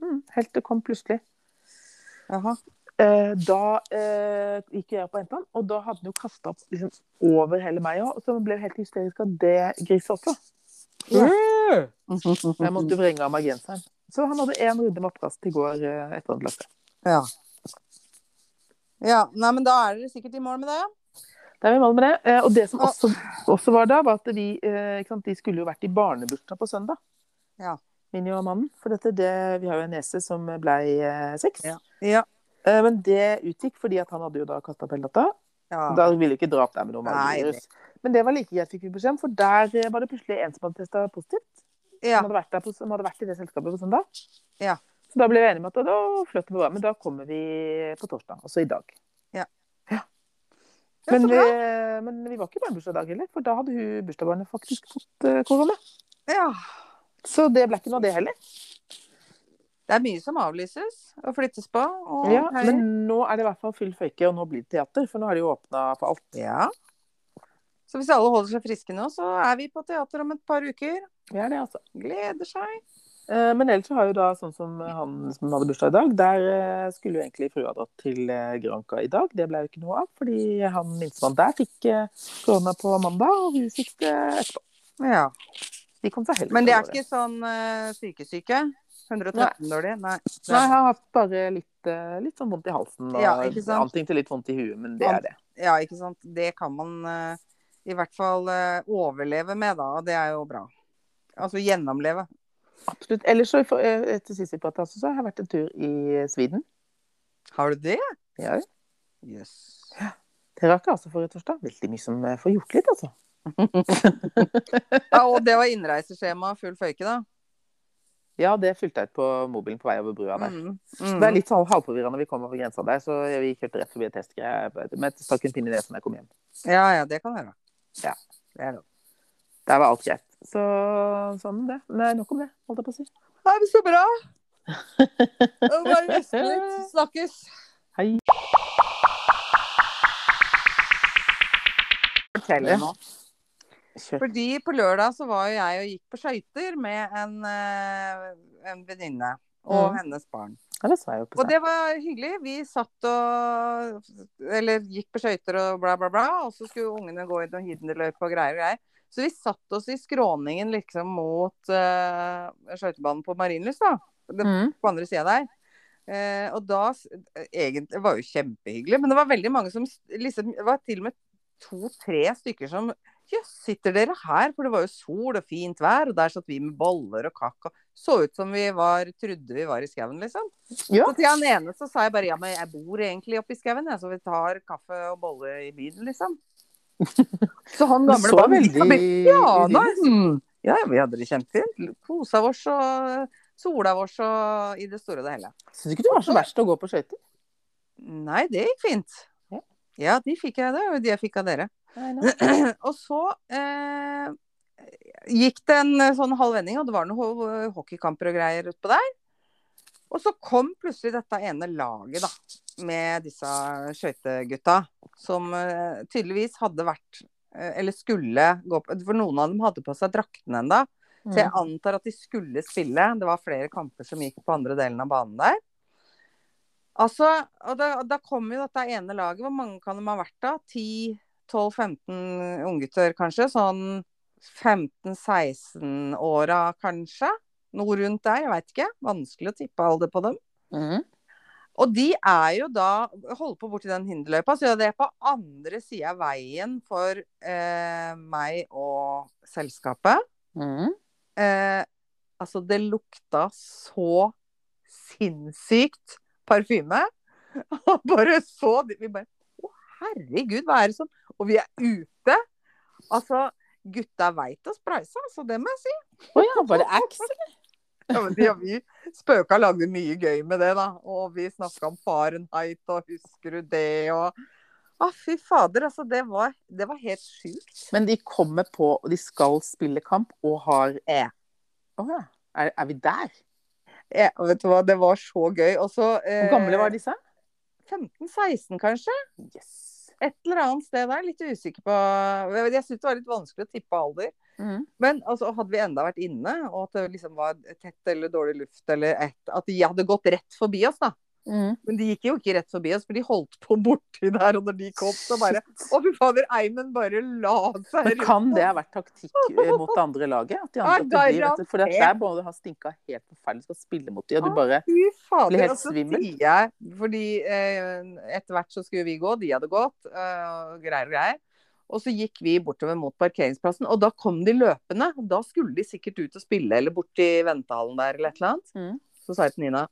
[SPEAKER 1] Mm, helt det kom plutselig.
[SPEAKER 2] Jaha.
[SPEAKER 1] eh, da eh, gikk jo jeg opp og hentet han, og da hadde han jo kasta opp liksom, over hele meg òg. Og så ble jeg helt hysterisk av det griset også. Jeg måtte jo vrenge av meg genseren. Så han hadde én runde med oppkast i går eh, etter han løpte.
[SPEAKER 2] Ja. ja. Nei, men da er dere sikkert i mål med det.
[SPEAKER 1] Det er vi i mål med det. Eh, Og det som også, også var da, var at vi eh, ikke sant, de skulle jo vært i barnebursdag på søndag.
[SPEAKER 2] Ja.
[SPEAKER 1] Min og mannen. For dette, det, vi har jo en niese som ble eh, seks.
[SPEAKER 2] Ja. Ja.
[SPEAKER 1] Eh, Men det utgikk fordi at han hadde jo da kasta pelledatta.
[SPEAKER 2] Ja.
[SPEAKER 1] Da ville jo ikke dra opp der med noe
[SPEAKER 2] Nei,
[SPEAKER 1] magevirus. Men det var like greit, fikk vi beskjed om, for der eh, var det plutselig en som hadde testa positivt.
[SPEAKER 2] ja.
[SPEAKER 1] Som, hadde vært der på, som hadde vært i det selskapet på søndag.
[SPEAKER 2] Ja.
[SPEAKER 1] Så da ble vi enige om at da fløt det bra, men da kommer vi på torsdag, altså i dag.
[SPEAKER 2] Ja.
[SPEAKER 1] Ja.
[SPEAKER 2] Ja,
[SPEAKER 1] Men,
[SPEAKER 2] så
[SPEAKER 1] vi,
[SPEAKER 2] bra.
[SPEAKER 1] men vi var ikke i barnebursdag i dag heller, for da hadde hun bursdagsbarnet faktisk fått eh, korona.
[SPEAKER 2] ja.
[SPEAKER 1] Så det ble ikke noe av det heller.
[SPEAKER 2] Det er mye som avlyses og flyttes på. Og
[SPEAKER 1] Ja, men nå er det i hvert fall full føyke, og nå blir det teater, for nå har de jo åpna for alt.
[SPEAKER 2] ja. Så hvis alle holder seg friske nå, så er vi på teater om et par uker.
[SPEAKER 1] Vi er det, altså.
[SPEAKER 2] Gleder seg.
[SPEAKER 1] Eh, Men ellers så har jo da sånn som han som hadde bursdag i dag, der eh, skulle jo egentlig frua dratt til eh, Granca i dag. Det ble jo ikke noe av, fordi han minstemann der fikk eh, korona på mandag, og hun fikk det etterpå.
[SPEAKER 2] Ja.
[SPEAKER 1] De kom seg heller
[SPEAKER 2] Men
[SPEAKER 1] til
[SPEAKER 2] det er
[SPEAKER 1] gårde.
[SPEAKER 2] ikke sånn eh, sykesyke? 113 dårlig? Nei.
[SPEAKER 1] Nei, jeg har hatt bare litt, eh, litt sånn vondt i halsen og
[SPEAKER 2] Ja, ikke sant?
[SPEAKER 1] anting til litt vondt i huet, men det
[SPEAKER 2] Vondt.
[SPEAKER 1] er det.
[SPEAKER 2] Ja, ikke sant. Det kan man eh, i hvert fall eh, overleve med, da. Og det er jo bra. Altså gjennomleve.
[SPEAKER 1] Absolutt. Ellers så, for- eh, etter sist vi pratet, så har jeg vært en tur i Sviden.
[SPEAKER 2] Har du det?
[SPEAKER 1] Ja, jo.
[SPEAKER 2] Jøss.
[SPEAKER 1] det rakk jeg altså forrige torsdag. Veldig mye som eh, får gjort litt, altså.
[SPEAKER 2] Ja, og det var innreiseskjema full føyke, da.
[SPEAKER 1] Ja, det fylte jeg ut på mobilen på vei over brua der.
[SPEAKER 2] Mm. Mm.
[SPEAKER 1] Det er litt sånn halvforvirrende når vi kommer over grensa der, så vi kjørte rett forbi et testgreie. Men jeg stakk en pinne i nesen da jeg kom hjem.
[SPEAKER 2] mm. Ja, ja, det kan være.
[SPEAKER 1] Ja.
[SPEAKER 2] Det er lov.
[SPEAKER 1] Der var alt greit. Så sånn det. Nei, nok om det, holdt jeg på å si.
[SPEAKER 2] Ja, men så bra! Det var Bare nesten litt. Snakkes.
[SPEAKER 1] Hei.
[SPEAKER 2] Fortell
[SPEAKER 1] Ja.
[SPEAKER 2] nå.
[SPEAKER 1] Kjør.
[SPEAKER 2] Fordi på lørdag så var jo jeg og gikk på skøyter med en, eh, en venninne og
[SPEAKER 1] Mm.
[SPEAKER 2] hennes barn.
[SPEAKER 1] Ja, det så jeg jo på
[SPEAKER 2] Og det var hyggelig. Vi satt og Eller gikk på skøyter og bla, bla, bla. Og så skulle ungene gå i noen hinderløype og greier og greier. Så vi satt oss i skråningen liksom mot uh, skøytebanen på Marienlyst, da. Det
[SPEAKER 1] Mm.
[SPEAKER 2] på andre sida der. Eh, og da s- Egentlig det var jo kjempehyggelig, men det var veldig mange som s- liksom Det var til og med to-tre stykker som Jøss, sitter dere her? For det var jo sol og fint vær, og der satt vi med boller og kakao. Så ut som vi var Trodde vi var i skauen, liksom.
[SPEAKER 1] Ja.
[SPEAKER 2] Så til han ene så sa jeg bare ja, men jeg bor egentlig oppe i skauen, jeg, så vi tar kaffe og bolle i byen, liksom. Så han
[SPEAKER 1] Du
[SPEAKER 2] gamle
[SPEAKER 1] så
[SPEAKER 2] var
[SPEAKER 1] veldig
[SPEAKER 2] Ja,
[SPEAKER 1] uhyggelig.
[SPEAKER 2] nei. hmm. Ja, vi hadde det kjempefint. Kosa oss og sola vår og i det store og det hele.
[SPEAKER 1] Syns ikke du var så verst å gå på skøyter?
[SPEAKER 2] Nei, det gikk fint.
[SPEAKER 1] Ja.
[SPEAKER 2] Ja, de fikk jeg. Det er jo de jeg fikk av dere. Og så eh, gikk det en eh, sånn halv vending, og det var noen ho- hockeykamper og greier utpå der. Og så kom plutselig dette ene laget, da, med disse skøytegutta. Som eh, tydeligvis hadde vært eh, Eller skulle gå på For noen av dem hadde på seg draktene ennå.
[SPEAKER 1] Mm.
[SPEAKER 2] Så jeg antar at de skulle spille. Det var flere kamper som gikk på andre delen av banen der. Altså, og da, da kom jo dette ene laget. Hvor mange kan de ha vært da? 10-12-15 unggutter, kanskje? Sånn 15-16-åra, kanskje? Noe rundt der, jeg veit ikke. Vanskelig å tippe alder på dem.
[SPEAKER 1] Mm.
[SPEAKER 2] Og de er jo da holdt på borti den hinderløypa, så det er på andre sida av veien for eh, meg og selskapet.
[SPEAKER 1] Mm.
[SPEAKER 2] Eh, altså, det lukta så sinnssykt parfyme. Og bare så de- Vi bare Å, herregud, hva er det som Og vi er ute. Altså, gutta veit å sprayse, altså. Det må jeg si.
[SPEAKER 1] Å ja, var det Axe?
[SPEAKER 2] Ja, men de, ja, vi spøka og lagde mye gøy med det, da. Og vi snakka om Fahrenheit og husker du det og Å, fy fader, altså. Det var, det var helt sjukt.
[SPEAKER 1] Men de kommer på, og de skal spille kamp, og har
[SPEAKER 2] Eh.
[SPEAKER 1] Å ja. Er, er vi der?
[SPEAKER 2] Ja, vet du hva, det var så gøy. Og så
[SPEAKER 1] Hvor gamle var disse?
[SPEAKER 2] 15-16, kanskje?
[SPEAKER 1] Yes.
[SPEAKER 2] et eller annet sted der. Litt usikker på Jeg syns det var litt vanskelig å tippe alder.
[SPEAKER 1] Mm.
[SPEAKER 2] Men altså, hadde vi enda vært inne, og at det liksom var tett eller dårlig luft eller et At de hadde gått rett forbi oss, da.
[SPEAKER 1] Mm.
[SPEAKER 2] Men de gikk jo ikke rett forbi oss, for de holdt på borti der. Og når de kom, så bare Å, fy fader, Eimen bare la seg
[SPEAKER 1] Men kan det ha vært taktikk eh, mot det andre laget? At de
[SPEAKER 2] Ja,
[SPEAKER 1] andre, at de, vet du, for at der
[SPEAKER 2] garantert.
[SPEAKER 1] må du ha stinka helt forferdelig, skal spille mot dem, og du bare
[SPEAKER 2] Fy
[SPEAKER 1] Blir
[SPEAKER 2] fader,
[SPEAKER 1] helt
[SPEAKER 2] og så
[SPEAKER 1] svimmel.
[SPEAKER 2] sier jeg Fordi eh, etter hvert så skulle vi gå, de hadde gått, eh, og greier og greier. Og så gikk vi bortover mot parkeringsplassen, og da kom de løpende. Da skulle de sikkert ut og spille, eller bort i ventehallen der, eller et eller annet.
[SPEAKER 1] Mm.
[SPEAKER 2] Så sa jeg til Nina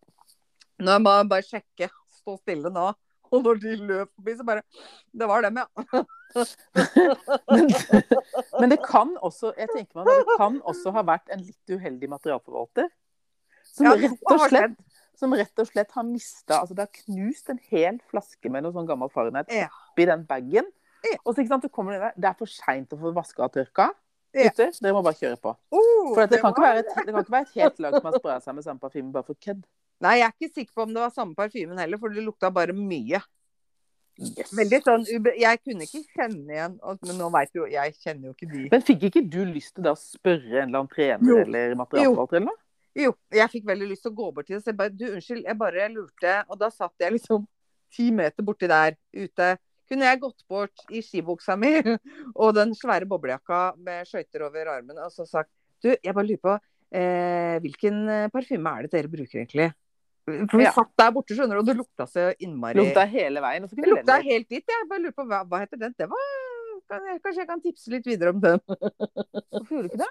[SPEAKER 2] Nå må jeg bare sjekke, stå stille nå. Og når de løp forbi, så bare Det var dem, ja.
[SPEAKER 1] men, men det kan også jeg tenker meg, nå, det kan også ha vært en litt uheldig materialforvalter. Som,
[SPEAKER 2] Ja,
[SPEAKER 1] rett,
[SPEAKER 2] hva
[SPEAKER 1] og
[SPEAKER 2] har
[SPEAKER 1] slett, som rett og slett har mista altså Det har knust en hel flaske med noe sånn gammel Fahrenheit
[SPEAKER 2] Ja.
[SPEAKER 1] oppi den bagen.
[SPEAKER 2] Ja.
[SPEAKER 1] Og så ikke sant, så kommer det der Det er for seint å få vaska og tørka.
[SPEAKER 2] Ja.
[SPEAKER 1] Gutter, dere må bare kjøre på.
[SPEAKER 2] Oh,
[SPEAKER 1] For at det,
[SPEAKER 2] det
[SPEAKER 1] kan ikke
[SPEAKER 2] var-
[SPEAKER 1] være et, det kan ikke være et helt lag som har spraya seg med samme parfyme bare for kødd.
[SPEAKER 2] Nei, jeg er ikke sikker på om det var samme parfymen heller, for det lukta bare mye.
[SPEAKER 1] Yes.
[SPEAKER 2] Veldig sånn ube... Jeg kunne ikke kjenne igjen og- Men nå veit jo Jeg kjenner jo ikke de.
[SPEAKER 1] Men fikk ikke du lyst til da å spørre en eller annen trener
[SPEAKER 2] Jo.
[SPEAKER 1] eller materialforvalter eller noe?
[SPEAKER 2] Jo, jeg fikk veldig lyst til å gå bort til det. Så jeg bare Du, unnskyld, jeg bare lurte. Og da satt jeg liksom ti meter borti der ute. Kunne jeg gått bort i skibuksa mi og den svære boblejakka med skøyter over armen og så sagt Du, jeg bare lurer på eh, Hvilken eh, parfyme er det dere bruker, egentlig? For vi
[SPEAKER 1] Ja.
[SPEAKER 2] satt der borte, skjønner du, og det lukta så innmari
[SPEAKER 1] Lukta hele veien. Og så
[SPEAKER 2] Det
[SPEAKER 1] kunne
[SPEAKER 2] lukta
[SPEAKER 1] du heller-
[SPEAKER 2] helt dit, jeg. Bare lurer på hva, hva heter den. Det var kan jeg, Kanskje jeg kan tipse litt videre om den.
[SPEAKER 1] Hvorfor gjorde du ikke det?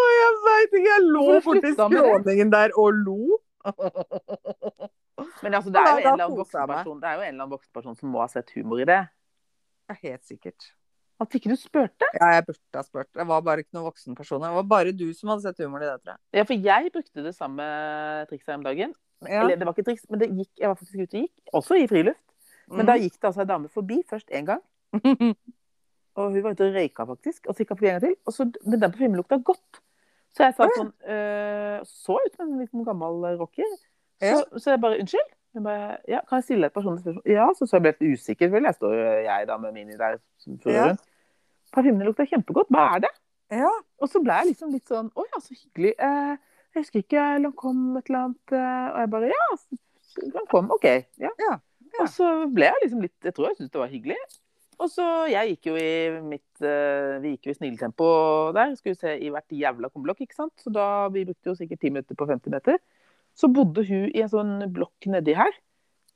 [SPEAKER 2] Å, jeg veit ikke! Jeg lå
[SPEAKER 1] Hvorfor
[SPEAKER 2] borti
[SPEAKER 1] slutta med det?
[SPEAKER 2] skråningen der og lo.
[SPEAKER 1] Men altså, det er jo
[SPEAKER 2] Nei,
[SPEAKER 1] en
[SPEAKER 2] da
[SPEAKER 1] eller annen
[SPEAKER 2] koser jeg
[SPEAKER 1] voksen
[SPEAKER 2] meg.
[SPEAKER 1] person, det er jo en eller annen voksen person som må ha sett humor i det.
[SPEAKER 2] Ja, Helt sikkert.
[SPEAKER 1] At ikke du spurte?
[SPEAKER 2] Ja, jeg burde ha spurt. Det var bare ikke noen voksenpersoner. Det var bare du som hadde sett humoren i det, tror jeg.
[SPEAKER 1] Ja, for jeg brukte det samme trikset her om dagen.
[SPEAKER 2] Ja.
[SPEAKER 1] Eller det var ikke triks, men det gikk, jeg var faktisk ute og gikk, også i friluft. Men da
[SPEAKER 2] Mhm.
[SPEAKER 1] gikk det altså ei dame forbi først én gang, og hun var ute og røyka faktisk. Og så gikk hun forbi en gang til, og så, men den parfymen lukta godt. Så jeg sa sånn øh, Så ut som en liten gammel eh, rocker. Så,
[SPEAKER 2] Ja.
[SPEAKER 1] så jeg bare Unnskyld? Hun bare, ja, kan jeg stille deg et personlig spørsmål? Ja, så, så jeg ble litt usikker, selvfølgelig. Jeg står jo jeg da med mini der.
[SPEAKER 2] Ja.
[SPEAKER 1] Ja. Parfymene lukta kjempegodt. Hva er det?
[SPEAKER 2] ja.
[SPEAKER 1] Og så ble jeg liksom litt sånn Å ja, så hyggelig. Eh, jeg husker ikke Lancôme et eller annet. Eh, og jeg bare Ja, så- Lancôme. OK. Ja.
[SPEAKER 2] Ja, ja.
[SPEAKER 1] Og så ble jeg liksom litt Jeg tror jeg syntes det var hyggelig. Og så Jeg gikk jo i mitt eh, Vi gikk jo i snilletempo der. Skulle se i hvert jævla kumlokk, ikke sant. Så da Vi brukte jo sikkert ti minutter på 50 meter. Så bodde hun i en sånn blokk nedi her.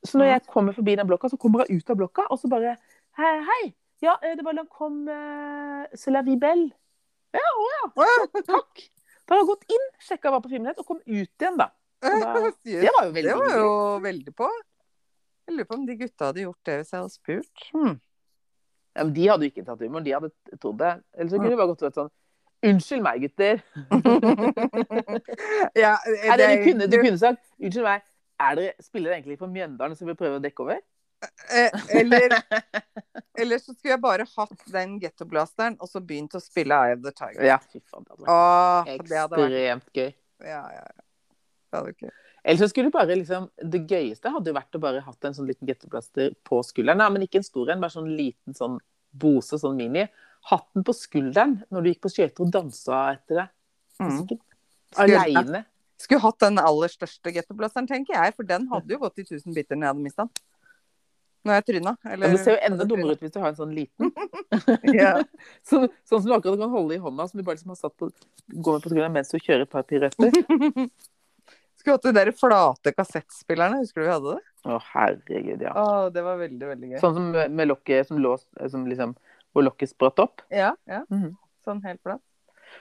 [SPEAKER 1] Så når
[SPEAKER 2] Ja.
[SPEAKER 1] jeg kommer forbi den blokka, så kommer hun ut av blokka, og så bare Hei, hei! Ja, eh, det var Lancôme eh, C'est la vie belle. Takk. Da har jeg gått inn, sjekka hva parfymen het, og kom ut igjen, da. Så da det var jo veldig
[SPEAKER 2] Det var
[SPEAKER 1] hyggelig.
[SPEAKER 2] jo veldig på. Jeg lurer på om de gutta hadde gjort det hvis jeg hadde spurt. Hmm.
[SPEAKER 1] Ja, men de hadde jo ikke tatt humoren, de hadde trodd det. Eller så kunne de bare gått og vært sånn Unnskyld meg, gutter.
[SPEAKER 2] Ja, eh,
[SPEAKER 1] Nei, det, du,
[SPEAKER 2] det-
[SPEAKER 1] kunne, du kunne sagt Unnskyld meg, er dere, spiller dere egentlig for Mjøndalen som vi prøver å dekke over?
[SPEAKER 2] Eh, Eller, eller så skulle jeg bare hatt den gettoblasteren og så begynt å spille Eye of the Tiger.
[SPEAKER 1] Ja, fy faen. Det hadde vært
[SPEAKER 2] Åh, det hadde vært
[SPEAKER 1] ekstremt gøy.
[SPEAKER 2] Ja, ja, ja. Det hadde vært gøy.
[SPEAKER 1] Eller så skulle du bare liksom Det gøyeste hadde jo vært å bare hatt en sånn liten gettoplaster på skulderen. Nei, men ikke en stor en, bare sånn liten sånn bose, sånn mini. Hatt den på skulderen når du gikk på skøyter og dansa etter det.
[SPEAKER 2] Mm.
[SPEAKER 1] Aleine.
[SPEAKER 2] Skulle hatt den aller største gettoblasteren, tenker jeg. For den hadde jo gått i tusen biter når jeg hadde mista den. Når jeg tryna.
[SPEAKER 1] Ja,
[SPEAKER 2] Eller
[SPEAKER 1] men det ser jo enda dummere ut hvis du har en sånn liten.
[SPEAKER 2] Ja.
[SPEAKER 1] Sånn, sånn som du akkurat kan holde i hånda, som du bare liksom har satt på, går med på skolen mens du kjører et par piruetter.
[SPEAKER 2] Skulle hatt de der flate kassettspillerne. Husker du vi hadde det?
[SPEAKER 1] Å, herregud, ja.
[SPEAKER 2] Å, det var veldig, veldig gøy.
[SPEAKER 1] Sånn som med med lokket som lå som liksom, Hvor lokket spratt opp.
[SPEAKER 2] Ja, ja.
[SPEAKER 1] Mhm.
[SPEAKER 2] Sånn helt flat.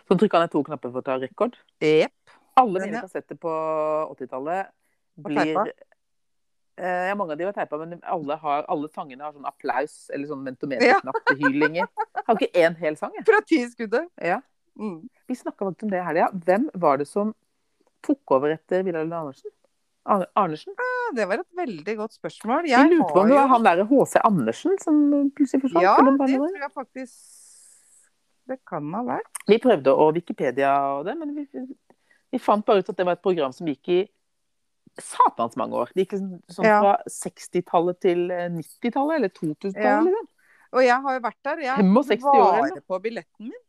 [SPEAKER 1] Så trykka han ned to knapper for å ta rekord.
[SPEAKER 2] Jepp.
[SPEAKER 1] Alle
[SPEAKER 2] Den,
[SPEAKER 1] mine
[SPEAKER 2] ja.
[SPEAKER 1] kassetter på 80-tallet blir
[SPEAKER 2] teipa?
[SPEAKER 1] Eh, ja, mange av de var teipa, men alle, har, alle sangene har sånn applaus eller sånn
[SPEAKER 2] Ja.
[SPEAKER 1] mentometerknapp-hylinger. Har ikke én hel sang, jeg.
[SPEAKER 2] Fra ti i skuddet.
[SPEAKER 1] Ja.
[SPEAKER 2] Mm.
[SPEAKER 1] Vi snakka faktisk om det i helga. Hvem var det som tok over etter Vidar Lund Andersen? Ar- Arnesen?
[SPEAKER 2] Ja, det var et veldig godt spørsmål.
[SPEAKER 1] Jeg lurte på
[SPEAKER 2] har
[SPEAKER 1] om det
[SPEAKER 2] jo-
[SPEAKER 1] var han derre HC Andersen som plutselig forsvant.
[SPEAKER 2] Ja,
[SPEAKER 1] eller om det var
[SPEAKER 2] det
[SPEAKER 1] noe.
[SPEAKER 2] tror jeg faktisk det kan ha vært.
[SPEAKER 1] Vi prøvde å Wikipedia og det, men vi, vi fant bare ut at det var et program som gikk i satans mange år. Det gikk liksom sånn
[SPEAKER 2] Ja.
[SPEAKER 1] fra 60-tallet til eh, 90-tallet, eller 2000-tallet.
[SPEAKER 2] Ja.
[SPEAKER 1] Liksom.
[SPEAKER 2] Og jeg har jo vært der. Jeg
[SPEAKER 1] 65 år,
[SPEAKER 2] varer
[SPEAKER 1] eller?
[SPEAKER 2] på billetten min.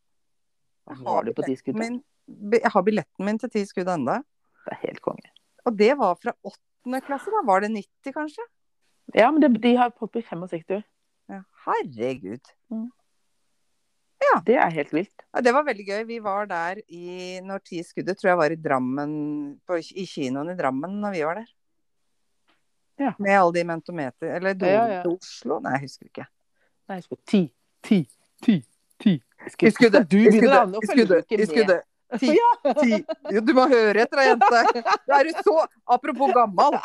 [SPEAKER 1] Hva var det på de skuddene?
[SPEAKER 2] Min, jeg har billetten min til ti skudd ennå.
[SPEAKER 1] Det er helt konge.
[SPEAKER 2] Og det var fra klasse, da? Var det 90, kanskje?
[SPEAKER 1] Ja, men det, de har poppy 65.
[SPEAKER 2] Ja. Herregud.
[SPEAKER 1] Det er helt vilt.
[SPEAKER 2] Ja, det var veldig gøy. Vi var der i når ti skuddet, tror jeg var i Drammen, på, i kinoen i Drammen når vi var der.
[SPEAKER 1] Ja.
[SPEAKER 2] Med alle de mentometer... Eller dro
[SPEAKER 1] Ja, ja.
[SPEAKER 2] til Oslo? Nei, jeg husker ikke.
[SPEAKER 1] Nei, husk på ti, ti, ti, ti.
[SPEAKER 2] I skuddet!
[SPEAKER 1] Du
[SPEAKER 2] i
[SPEAKER 1] begynner
[SPEAKER 2] skuddet,
[SPEAKER 1] da, nå
[SPEAKER 2] i
[SPEAKER 1] følger du
[SPEAKER 2] skuddet,
[SPEAKER 1] ikke
[SPEAKER 2] i skuddet. Ti, ti. Jo, Du må høre etter, da, jente. Da er du så Apropos gammal.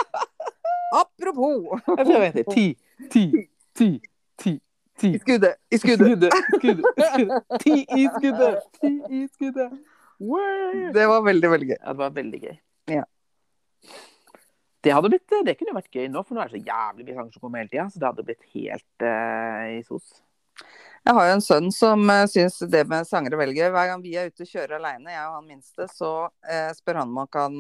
[SPEAKER 2] Apropos!
[SPEAKER 1] Jeg prøver å hete ti, ti, ti, ti, ti.
[SPEAKER 2] I skuddet, i skuddet.
[SPEAKER 1] skuddet, skuddet. Ti i skuddet! Ti i skuddet! Word.
[SPEAKER 2] Det var veldig, veldig gøy.
[SPEAKER 1] Ja, det var veldig gøy.
[SPEAKER 2] Ja.
[SPEAKER 1] Det, hadde blitt, det kunne vært gøy nå, for nå er det så jævlig mye sanger som kommer hele tida. Så det hadde blitt helt eh, i sos.
[SPEAKER 2] Jeg har jo en sønn som uh, syns det med sanger er veldig gøy. Hver gang vi er ute og kjører alene, jeg og han minste, så eh, spør han om han kan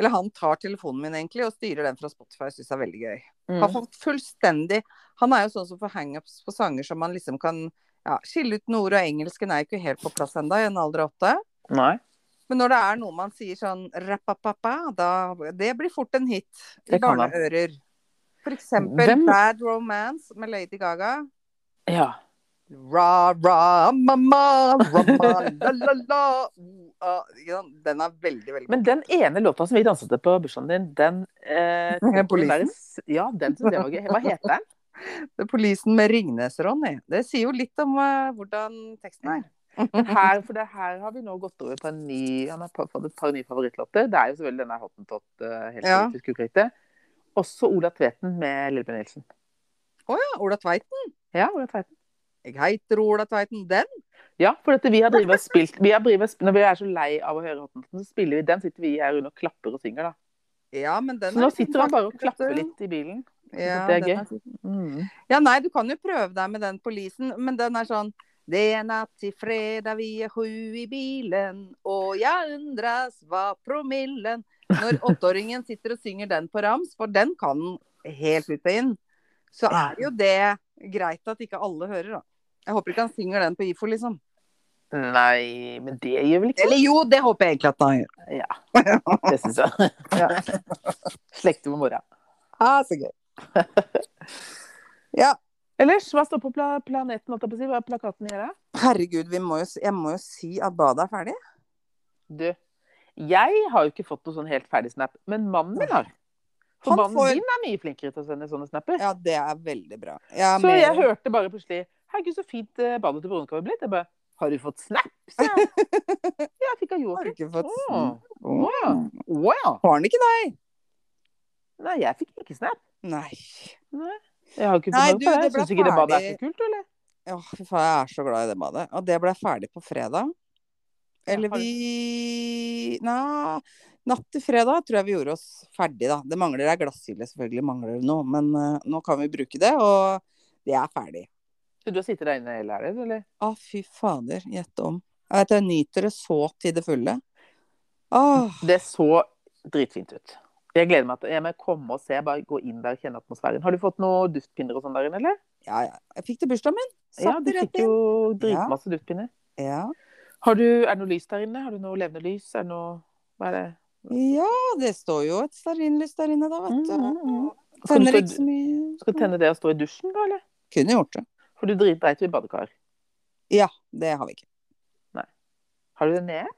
[SPEAKER 2] Eller han tar telefonen min egentlig og styrer den fra Spotify. Syns det er veldig gøy.
[SPEAKER 1] Mm.
[SPEAKER 2] Har fått fullstendig Han er jo sånn som får hangups på sanger som han liksom kan ja, skille ut noe ord, og engelsken er jo ikke helt på plass ennå, i en alder av åtte.
[SPEAKER 1] Nei.
[SPEAKER 2] Men når det er noe man sier sånn rappapapa, da Det blir fort en hit i
[SPEAKER 1] Det kan han.
[SPEAKER 2] barneører. For eksempel
[SPEAKER 1] Hvem-
[SPEAKER 2] Bad Romance med Lady Gaga.
[SPEAKER 1] Ja.
[SPEAKER 2] Ra, ra, ma-ma, ra-ma, la-la-la. ah, Den er veldig, veldig
[SPEAKER 1] Men den ene låta som vi danset til på bursdagen din, den eh,
[SPEAKER 2] god.
[SPEAKER 1] den
[SPEAKER 2] Polisen.
[SPEAKER 1] der- Ja, den som det var gøy. Hva heter den?
[SPEAKER 2] Det er Polisen med Ringnes-Ronny. Det sier jo litt om eh, hvordan teksten er.
[SPEAKER 1] Her, for det her har vi nå gått over på en ny Han har pa- fått et par nye favorittlåter. Det er jo selvfølgelig denne Hottentott eh, helt
[SPEAKER 2] Ja.
[SPEAKER 1] ja. ukriktig. Også Ola Tveten med Lillebjørn Nilsen.
[SPEAKER 2] Å ja, Ola Tveiten.
[SPEAKER 1] Ja, Ola Tveten.
[SPEAKER 2] Jeg heter Ola Tveiten. Den?
[SPEAKER 1] Ja, for dette, vi har drivet og spilt vi har drivet, og sp- Når vi er så lei av å høre Hottentotten, så spiller vi den. Sitter vi her under og klapper og synger, da.
[SPEAKER 2] Ja, men den
[SPEAKER 1] Så nå
[SPEAKER 2] er
[SPEAKER 1] sitter han bare og
[SPEAKER 2] kontakt, vet
[SPEAKER 1] klapper
[SPEAKER 2] du.
[SPEAKER 1] litt i bilen.
[SPEAKER 2] Ja,
[SPEAKER 1] Det er
[SPEAKER 2] den
[SPEAKER 1] gøy. Mm.
[SPEAKER 2] Ja, nei, du kan jo prøve deg med den polisen, men den er sånn Det er natt til fredag, vi er sju i bilen, og jeg undres hva promillen Når åtteåringen sitter og synger den på rams, for den kan den helt ut og inn, så er jo det greit at ikke alle hører, da. Jeg håper ikke han synger den på IFO, liksom.
[SPEAKER 1] Nei, men det gjør vel ikke
[SPEAKER 2] Eller jo, det håper jeg egentlig at han gjør.
[SPEAKER 1] Det syns jeg. Slekter med mora.
[SPEAKER 2] Ja, så gøy. Ja,
[SPEAKER 1] Ellers, hva står på pla planeten? holdt jeg på å si? Hva er plakaten i her? da?
[SPEAKER 2] herregud, vi må jo, s- jeg må jo si at badet er ferdig.
[SPEAKER 1] Du, jeg har jo ikke fått noen sånn helt ferdig snap, men mannen min har. For
[SPEAKER 2] Han
[SPEAKER 1] mannen
[SPEAKER 2] får-
[SPEAKER 1] din er mye flinkere til å sende sånne snapper.
[SPEAKER 2] Ja, det er veldig bra. Jeg er
[SPEAKER 1] så
[SPEAKER 2] med-
[SPEAKER 1] jeg hørte bare plutselig Herregud, så fint eh, badet til Veronica har blitt. Jeg bare Har du fått snap? sa jeg. Ja, jeg fikk av
[SPEAKER 2] Har du
[SPEAKER 1] Joakim.
[SPEAKER 2] ikke fått
[SPEAKER 1] Å,
[SPEAKER 2] sånn?
[SPEAKER 1] å ja. Å ja.
[SPEAKER 2] Har han ikke deg?
[SPEAKER 1] Nei, jeg fikk ikke snap.
[SPEAKER 2] Nei.
[SPEAKER 1] Jeg har ikke
[SPEAKER 2] Nei,
[SPEAKER 1] fått
[SPEAKER 2] du,
[SPEAKER 1] noe på det.
[SPEAKER 2] det ble
[SPEAKER 1] Syns ikke det badet er
[SPEAKER 2] ferdig.
[SPEAKER 1] så kult, eller?
[SPEAKER 2] Åh, fy faen, jeg er så glad i det badet. Og det ble ferdig på fredag. Eller
[SPEAKER 1] Ja, har du-
[SPEAKER 2] vi Nei, natt til fredag tror jeg vi gjorde oss ferdig, da. Det mangler ei glasshylle, selvfølgelig mangler det noe, men eh, nå kan vi bruke det, og det er ferdig.
[SPEAKER 1] Så du har sittet der inne hele helgen, eller?
[SPEAKER 2] Å, fy fader, gjett om. Jeg vet, jeg nyter det så til det fulle. Åh,
[SPEAKER 1] Det så dritfint ut. Jeg gleder meg til jeg må komme og se. Bare gå inn der og kjenne atmosfæren. Har du fått noen duftpinner og sånn der inne, eller?
[SPEAKER 2] ja, ja. Jeg fikk det bursdagen min.
[SPEAKER 1] Ja,
[SPEAKER 2] Satt
[SPEAKER 1] du
[SPEAKER 2] det rett
[SPEAKER 1] fikk
[SPEAKER 2] inn.
[SPEAKER 1] jo dritmasse duftpinner.
[SPEAKER 2] Ja.
[SPEAKER 1] Har du, er det noe lys der inne? Har du noe levende lys? Er det noe Hva er det?
[SPEAKER 2] ja, det står jo et stearinlys der inne, da, vet du.
[SPEAKER 1] Mm, mm, mm. Skal du,
[SPEAKER 2] Tenner ikke
[SPEAKER 1] stå,
[SPEAKER 2] så mye.
[SPEAKER 1] skal du tenne det og stå i dusjen, da, eller?
[SPEAKER 2] Kunne gjort det.
[SPEAKER 1] For du dritdreit jo i badekar.
[SPEAKER 2] Ja, det har vi ikke.
[SPEAKER 1] Har du det nede?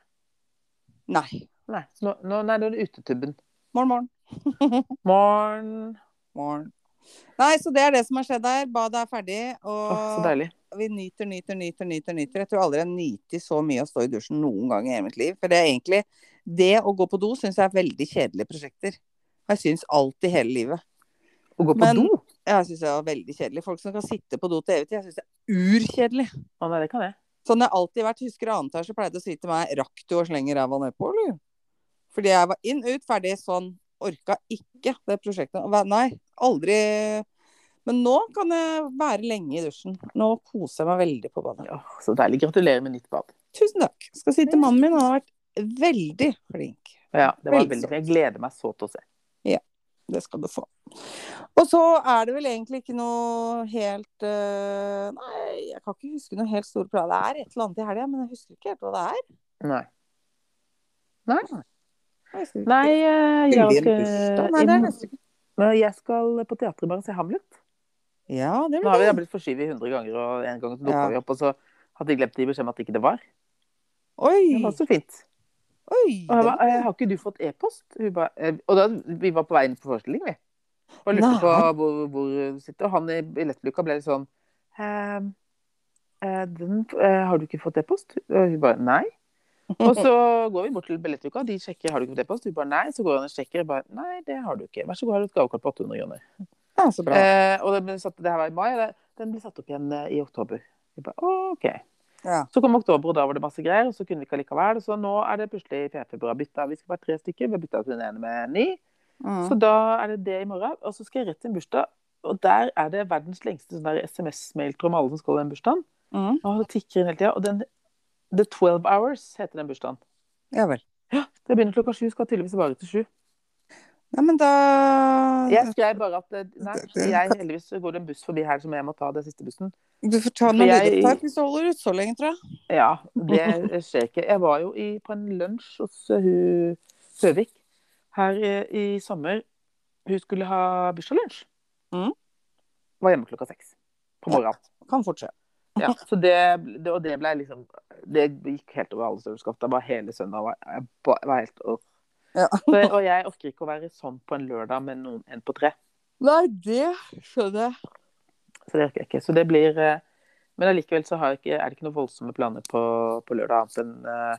[SPEAKER 2] Nei.
[SPEAKER 1] Nei, nå, nå, nei det er utetubben.
[SPEAKER 2] Morgen, morgen.
[SPEAKER 1] Morgen.
[SPEAKER 2] morgen. Nei, så det er det som har skjedd her. Badet er ferdig, og
[SPEAKER 1] Å, så deilig.
[SPEAKER 2] vi nyter, nyter, nyter, nyter, nyter. Jeg tror aldri jeg nyter så mye å stå i dusjen noen gang i hele mitt liv. For det er egentlig Det å gå på do syns jeg er veldig kjedelige prosjekter. Jeg syns alltid hele livet.
[SPEAKER 1] Å gå på
[SPEAKER 2] Men-
[SPEAKER 1] do?
[SPEAKER 2] Jeg syns det er veldig kjedelig. Folk som kan sitte på do til evig tid, jeg syns det er urkjedelig.
[SPEAKER 1] Å nei, det kan jeg.
[SPEAKER 2] Sånn har jeg alltid vært. Husker du annet her, så pleide å si til meg Rakk du å slenge ræva nedpå, eller? Fordi jeg var inn, ut, ferdig, sånn. Orka ikke det prosjektet. Og hva- Nei, aldri. Men nå kan jeg være lenge i dusjen. Nå koser jeg meg veldig på badet.
[SPEAKER 1] Å, så deilig. Gratulerer med nytt bad.
[SPEAKER 2] Tusen takk. Skal si til mannen min, han har vært veldig flink.
[SPEAKER 1] Ja, det var
[SPEAKER 2] Veldig
[SPEAKER 1] veldig
[SPEAKER 2] søtt.
[SPEAKER 1] fint. Jeg gleder meg så til å se.
[SPEAKER 2] Det skal du få. Og så er det vel egentlig ikke noe helt eh, Nei, jeg kan ikke huske noe helt store planer. Det er et eller annet i helga, men jeg husker ikke helt hva det er.
[SPEAKER 1] Nei. Nei. Nei, eh, jeg
[SPEAKER 3] Helgen
[SPEAKER 1] skal,
[SPEAKER 2] Nei, det er
[SPEAKER 1] i-
[SPEAKER 2] nesten ikke.
[SPEAKER 1] Nei, jeg skal på teatret i morgen og se Hamlet.
[SPEAKER 2] Ja, det
[SPEAKER 1] Nå har
[SPEAKER 2] blir
[SPEAKER 1] vi
[SPEAKER 2] det.
[SPEAKER 1] da blitt forskyvet 100 ganger, og en gang så dukka
[SPEAKER 2] Ja.
[SPEAKER 1] vi opp, og så hadde de glemt å gi beskjed om at ikke det var. Det
[SPEAKER 2] Oi,
[SPEAKER 1] var så fint.
[SPEAKER 2] oi.
[SPEAKER 1] Og jeg
[SPEAKER 2] det
[SPEAKER 1] ba, «Eh, har ikke du fått e-post? Hun ba, «Eh», og da, vi var på vei inn på forestilling, vi. Og lurte
[SPEAKER 2] Nei.
[SPEAKER 1] på hvor, hvor hun sitter. Og han i billettluka ble litt sånn «Ehm, eh, den, eh, Har du ikke fått e-post? Og hun bare nei. Og så går vi bort til billettluka, og de sjekker har du ikke fått e-post. Hun bare nei. Så går han og sjekker, og bare nei, det har du ikke. Vær så god, har du et gavekort på 800 kroner.
[SPEAKER 2] Ja, så bra.
[SPEAKER 1] Eh, og den ble satt, det her var i mai, og det- den ble satt opp igjen eh, i oktober. Vi ba, «Å, ok.
[SPEAKER 2] Ja.
[SPEAKER 1] Så kom oktober, og da var det masse greier, og så kunne vi ikke allikevel. Så nå er det plutselig P-februar bytta. Vi skal være tre stykker. Vi har bytta ut den ene med ni. Så
[SPEAKER 2] Mm.
[SPEAKER 1] da er det det i morgen. Og så skal jeg rett til en bursdag. Og der er det verdens lengste sånn der SMS-mailtråd med alle som skal i den bursdagen.
[SPEAKER 2] Mm.
[SPEAKER 1] Og det tikker inn hele tida. Og den The 12 Hours heter den bursdagen.
[SPEAKER 2] Ja vel.
[SPEAKER 1] Det begynner klokka sju, skal tydeligvis vare til sju.
[SPEAKER 2] Ja, men da
[SPEAKER 1] Jeg skrev bare at eh, nei,
[SPEAKER 2] Det- det-
[SPEAKER 1] jeg heldigvis går det en buss forbi her som jeg må ta den siste bussen.
[SPEAKER 2] Du får ta noen
[SPEAKER 1] For jeg-
[SPEAKER 2] lydopptak hvis du holder ut så lenge, tror jeg.
[SPEAKER 1] Ja, det skjer ikke. Jeg var jo i, på en lunsj hos eh, hun Søvik her eh, i sommer. Hun skulle ha bursdagslunsj.
[SPEAKER 2] Mhm.
[SPEAKER 1] Var hjemme klokka seks på morgenen.
[SPEAKER 2] Kan fort skje.
[SPEAKER 1] Ja, så det, det, og det ble liksom Det gikk helt over alle størrelseskaft. Det var hele søndag. Var, jeg ba- var helt, åh.
[SPEAKER 2] Ja.
[SPEAKER 1] så, og jeg orker ikke å være sånn på en lørdag med noen en på tre.
[SPEAKER 2] Nei, det skjønner jeg.
[SPEAKER 1] Så det orker jeg ikke. Så det blir eh, Men allikevel så har jeg ikke, er det ikke noen voldsomme planer på, på lørdag annet enn eh,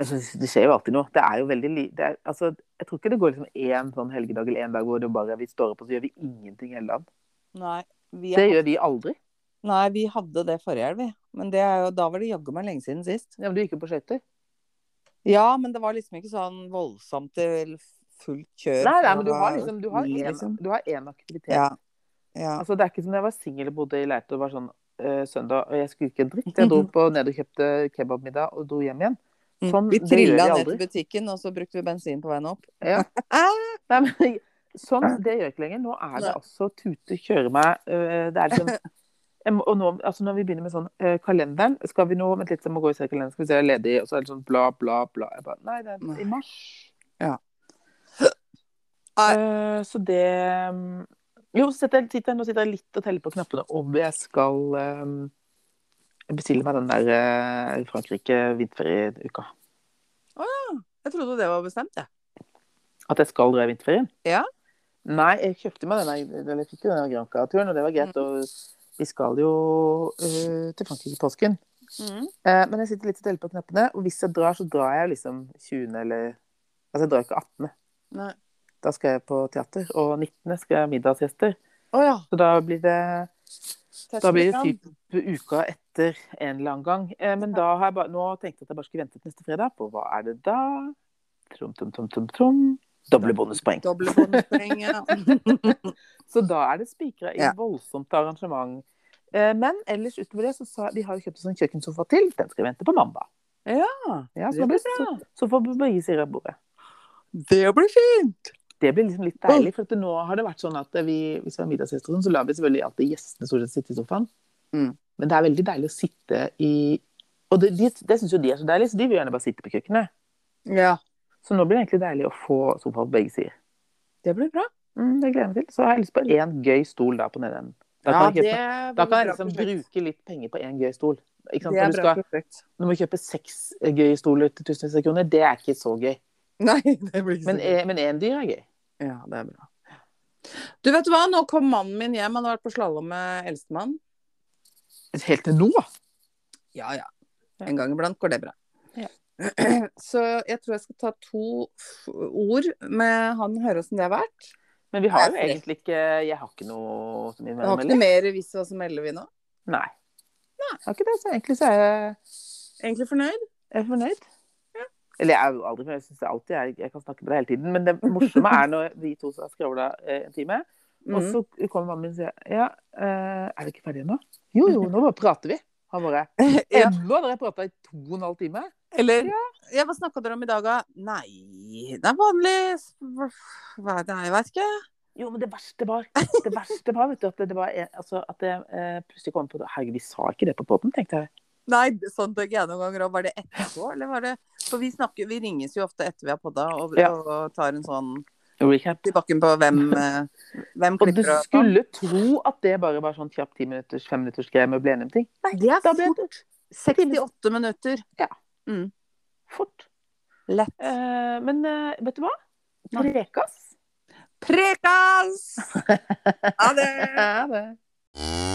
[SPEAKER 1] altså, Det skjer jo alltid noe. Det er jo veldig li... Det er, altså, jeg tror ikke det går liksom én sånn helgedag eller én dag hvor det bare vi står opp og så gjør vi ingenting hele dagen.
[SPEAKER 2] Nei vi,
[SPEAKER 1] Det gjør vi aldri.
[SPEAKER 2] nei, vi hadde det forrige helg, vi. Men det er jo, da var det jaggu meg lenge siden sist.
[SPEAKER 1] Ja, men du gikk jo på skøyter.
[SPEAKER 2] Ja, men det var liksom ikke sånn voldsomt til fullt kjør.
[SPEAKER 1] Nei, nei,
[SPEAKER 2] fra
[SPEAKER 1] men du har liksom Du har
[SPEAKER 2] ni,
[SPEAKER 1] én
[SPEAKER 2] liksom.
[SPEAKER 1] du har én aktivitet.
[SPEAKER 2] Ja. ja.
[SPEAKER 1] Altså, det er ikke som da jeg var singel og bodde i Leite og var sånn eh, søndag, og jeg skulle ikke en dritt. Jeg dro på ned og kjøpte kebabmiddag og dro hjem igjen. Sånn,
[SPEAKER 2] Mm. vi
[SPEAKER 1] det gjør
[SPEAKER 2] trilla
[SPEAKER 1] vi
[SPEAKER 2] ned
[SPEAKER 1] aldri.
[SPEAKER 2] til butikken, og så brukte vi bensin på veien opp.
[SPEAKER 1] Ja. Nei, men, sånn, det gjør jeg ikke lenger. Nå er det
[SPEAKER 2] Nei.
[SPEAKER 1] altså tute, kjøre meg øh, Det er liksom jeg må- Og nå, altså når vi begynner med sånn øh, Kalenderen Skal vi nå Vent litt, jeg må gå og se kalenderen. Skal vi se, jeg er ledig. Og så er det sånn bla, bla, bla. Jeg bare, nei, det er i mars.
[SPEAKER 2] Ja.
[SPEAKER 1] Eh, så det mm, Jo, så sitter jeg, sitter, jeg- nå sitter jeg litt og teller på knappene om jeg skal eh, bestille meg den der eh, Frankrike-vinterferieuka.
[SPEAKER 2] Jeg trodde det var bestemt, jeg.
[SPEAKER 1] At jeg skal dra i vinterferien?
[SPEAKER 2] Ja.
[SPEAKER 1] Nei, jeg kjøpte meg denne, eller jeg fikk jo denne Granca-turen, og det var greit. Og vi skal jo øh, til Frankrike i påsken.
[SPEAKER 2] Mm.
[SPEAKER 1] Eh, men jeg sitter litt og teller på knappene, og hvis jeg drar, så drar jeg liksom 20. eller Altså, jeg drar ikke 18.
[SPEAKER 2] Nei.
[SPEAKER 1] Da skal jeg på teater. Og 19. skal jeg ha middagsgjester.
[SPEAKER 2] Å ja.
[SPEAKER 1] Så da blir det, da blir det
[SPEAKER 2] Terskelkran.
[SPEAKER 1] typ uka etter en eller annen gang. Eh, men da har jeg bare Nå tenkte jeg at jeg bare skulle vente til neste fredag, på hva er det da? Trom, trom, trom, trom, trom. Doble bonuspoeng.
[SPEAKER 2] Doble bonuspoeng, ja.
[SPEAKER 1] Så da er det spikra i
[SPEAKER 2] Ja.
[SPEAKER 1] voldsomt arrangement. Eh, Men ellers utover det, så sa, vi har jo kjøpt oss en kjøkkensofa til. Den skal vi vente på mandag.
[SPEAKER 2] Ja,
[SPEAKER 1] ja
[SPEAKER 2] det sånn.
[SPEAKER 1] så, blir, så, så får begge sider av bordet.
[SPEAKER 2] Det blir fint!
[SPEAKER 1] Det blir liksom litt deilig. For at det, nå har det vært sånn at vi, hvis vi har middagsgjester, og sånn, så lar vi selvfølgelig alltid gjestene stort sett sitte i sofaen.
[SPEAKER 2] Mm.
[SPEAKER 1] Men det er veldig deilig å sitte i Og det, de, det syns jo de er så deilig, så de vil gjerne bare sitte på kjøkkenet.
[SPEAKER 2] Ja.
[SPEAKER 1] Så nå blir det egentlig deilig å få sofa på begge sider.
[SPEAKER 2] Det blir bra.
[SPEAKER 1] Mm, det gleder jeg meg til. Så har jeg lyst på én gøy stol da på den enden. Da kan jeg kjøpe- Da kan jeg liksom bruke litt penger på én gøy stol. Ikke sant?
[SPEAKER 2] Det
[SPEAKER 1] Når
[SPEAKER 2] er
[SPEAKER 1] du,
[SPEAKER 2] bra
[SPEAKER 1] skal,
[SPEAKER 2] prosjekt.
[SPEAKER 1] når du kjøper seks eh, gøye stoler til tusenvis av kroner, det er ikke så gøy.
[SPEAKER 2] Nei, det blir ikke
[SPEAKER 1] Men
[SPEAKER 2] så bra.
[SPEAKER 1] eh, men én dyr er gøy.
[SPEAKER 2] Ja, det er bra. Du vet hva, nå kom mannen min hjem. Han har vært på slalåm med eldstemann.
[SPEAKER 1] Helt til nå?
[SPEAKER 2] Ja, ja.
[SPEAKER 1] Ja.
[SPEAKER 2] En gang iblant går det bra.
[SPEAKER 1] Ja.
[SPEAKER 2] Så jeg tror jeg skal ta to f- ord med han og høre åssen det har vært.
[SPEAKER 1] Men vi har jo
[SPEAKER 2] Nei, fordi-
[SPEAKER 1] egentlig ikke Jeg har ikke noe så mye
[SPEAKER 2] Jeg har
[SPEAKER 1] mellom,
[SPEAKER 2] ikke noe
[SPEAKER 1] eller?
[SPEAKER 2] mer visst hva som melder vi nå.
[SPEAKER 1] Nei. Jeg har ikke det, så egentlig så er jeg,
[SPEAKER 2] Egentlig fornøyd?
[SPEAKER 1] jeg er fornøyd. Eller jeg er jo aldri fornøyd, jeg syns alltid jeg, jeg kan snakke med deg hele tiden. Men det morsomme er når vi to har skravla eh, en time, og
[SPEAKER 2] Mm.
[SPEAKER 1] så kommer mannen min og sier Ja, eh, er vi ikke ferdige ennå? Jo, jo, nå bare prater vi. Han bare
[SPEAKER 2] Ja.
[SPEAKER 1] Ennå? Dere har prata i to og en halv time?
[SPEAKER 2] Eller ja, Hva snakka dere om i dag, da? Nei, det er vanlig Hva er det, jeg vet ikke.
[SPEAKER 1] Jo, men det verste var, det eh, verste var vet du, at det, det var en- altså, at jeg eh, plutselig kom på det. Herregud, vi sa ikke det på poden, tenkte jeg.
[SPEAKER 2] Nei, sånn tenker jeg noen ganger òg. Var det etterpå, eller var det For vi snakker, vi ringes jo ofte etter vi har podda og,
[SPEAKER 1] Ja.
[SPEAKER 2] og tar en sånn
[SPEAKER 1] Recap.
[SPEAKER 2] i bakken på hvem, eh, hvem
[SPEAKER 1] Og du
[SPEAKER 2] klipper og sånn.
[SPEAKER 1] skulle tro at det bare var sånn kjapp ti minutters, fem minutters greie med å bli enig om ting.
[SPEAKER 2] Nei, sånn. det er
[SPEAKER 1] Da ble
[SPEAKER 2] fort.
[SPEAKER 1] det
[SPEAKER 2] 68 minutter.
[SPEAKER 1] fort.
[SPEAKER 2] Lett.
[SPEAKER 1] Eh, men eh, vet du hva?
[SPEAKER 2] Nei.
[SPEAKER 1] Prekas.
[SPEAKER 2] Prekas! Ha det!
[SPEAKER 1] Ja, det.
[SPEAKER 3] Mm.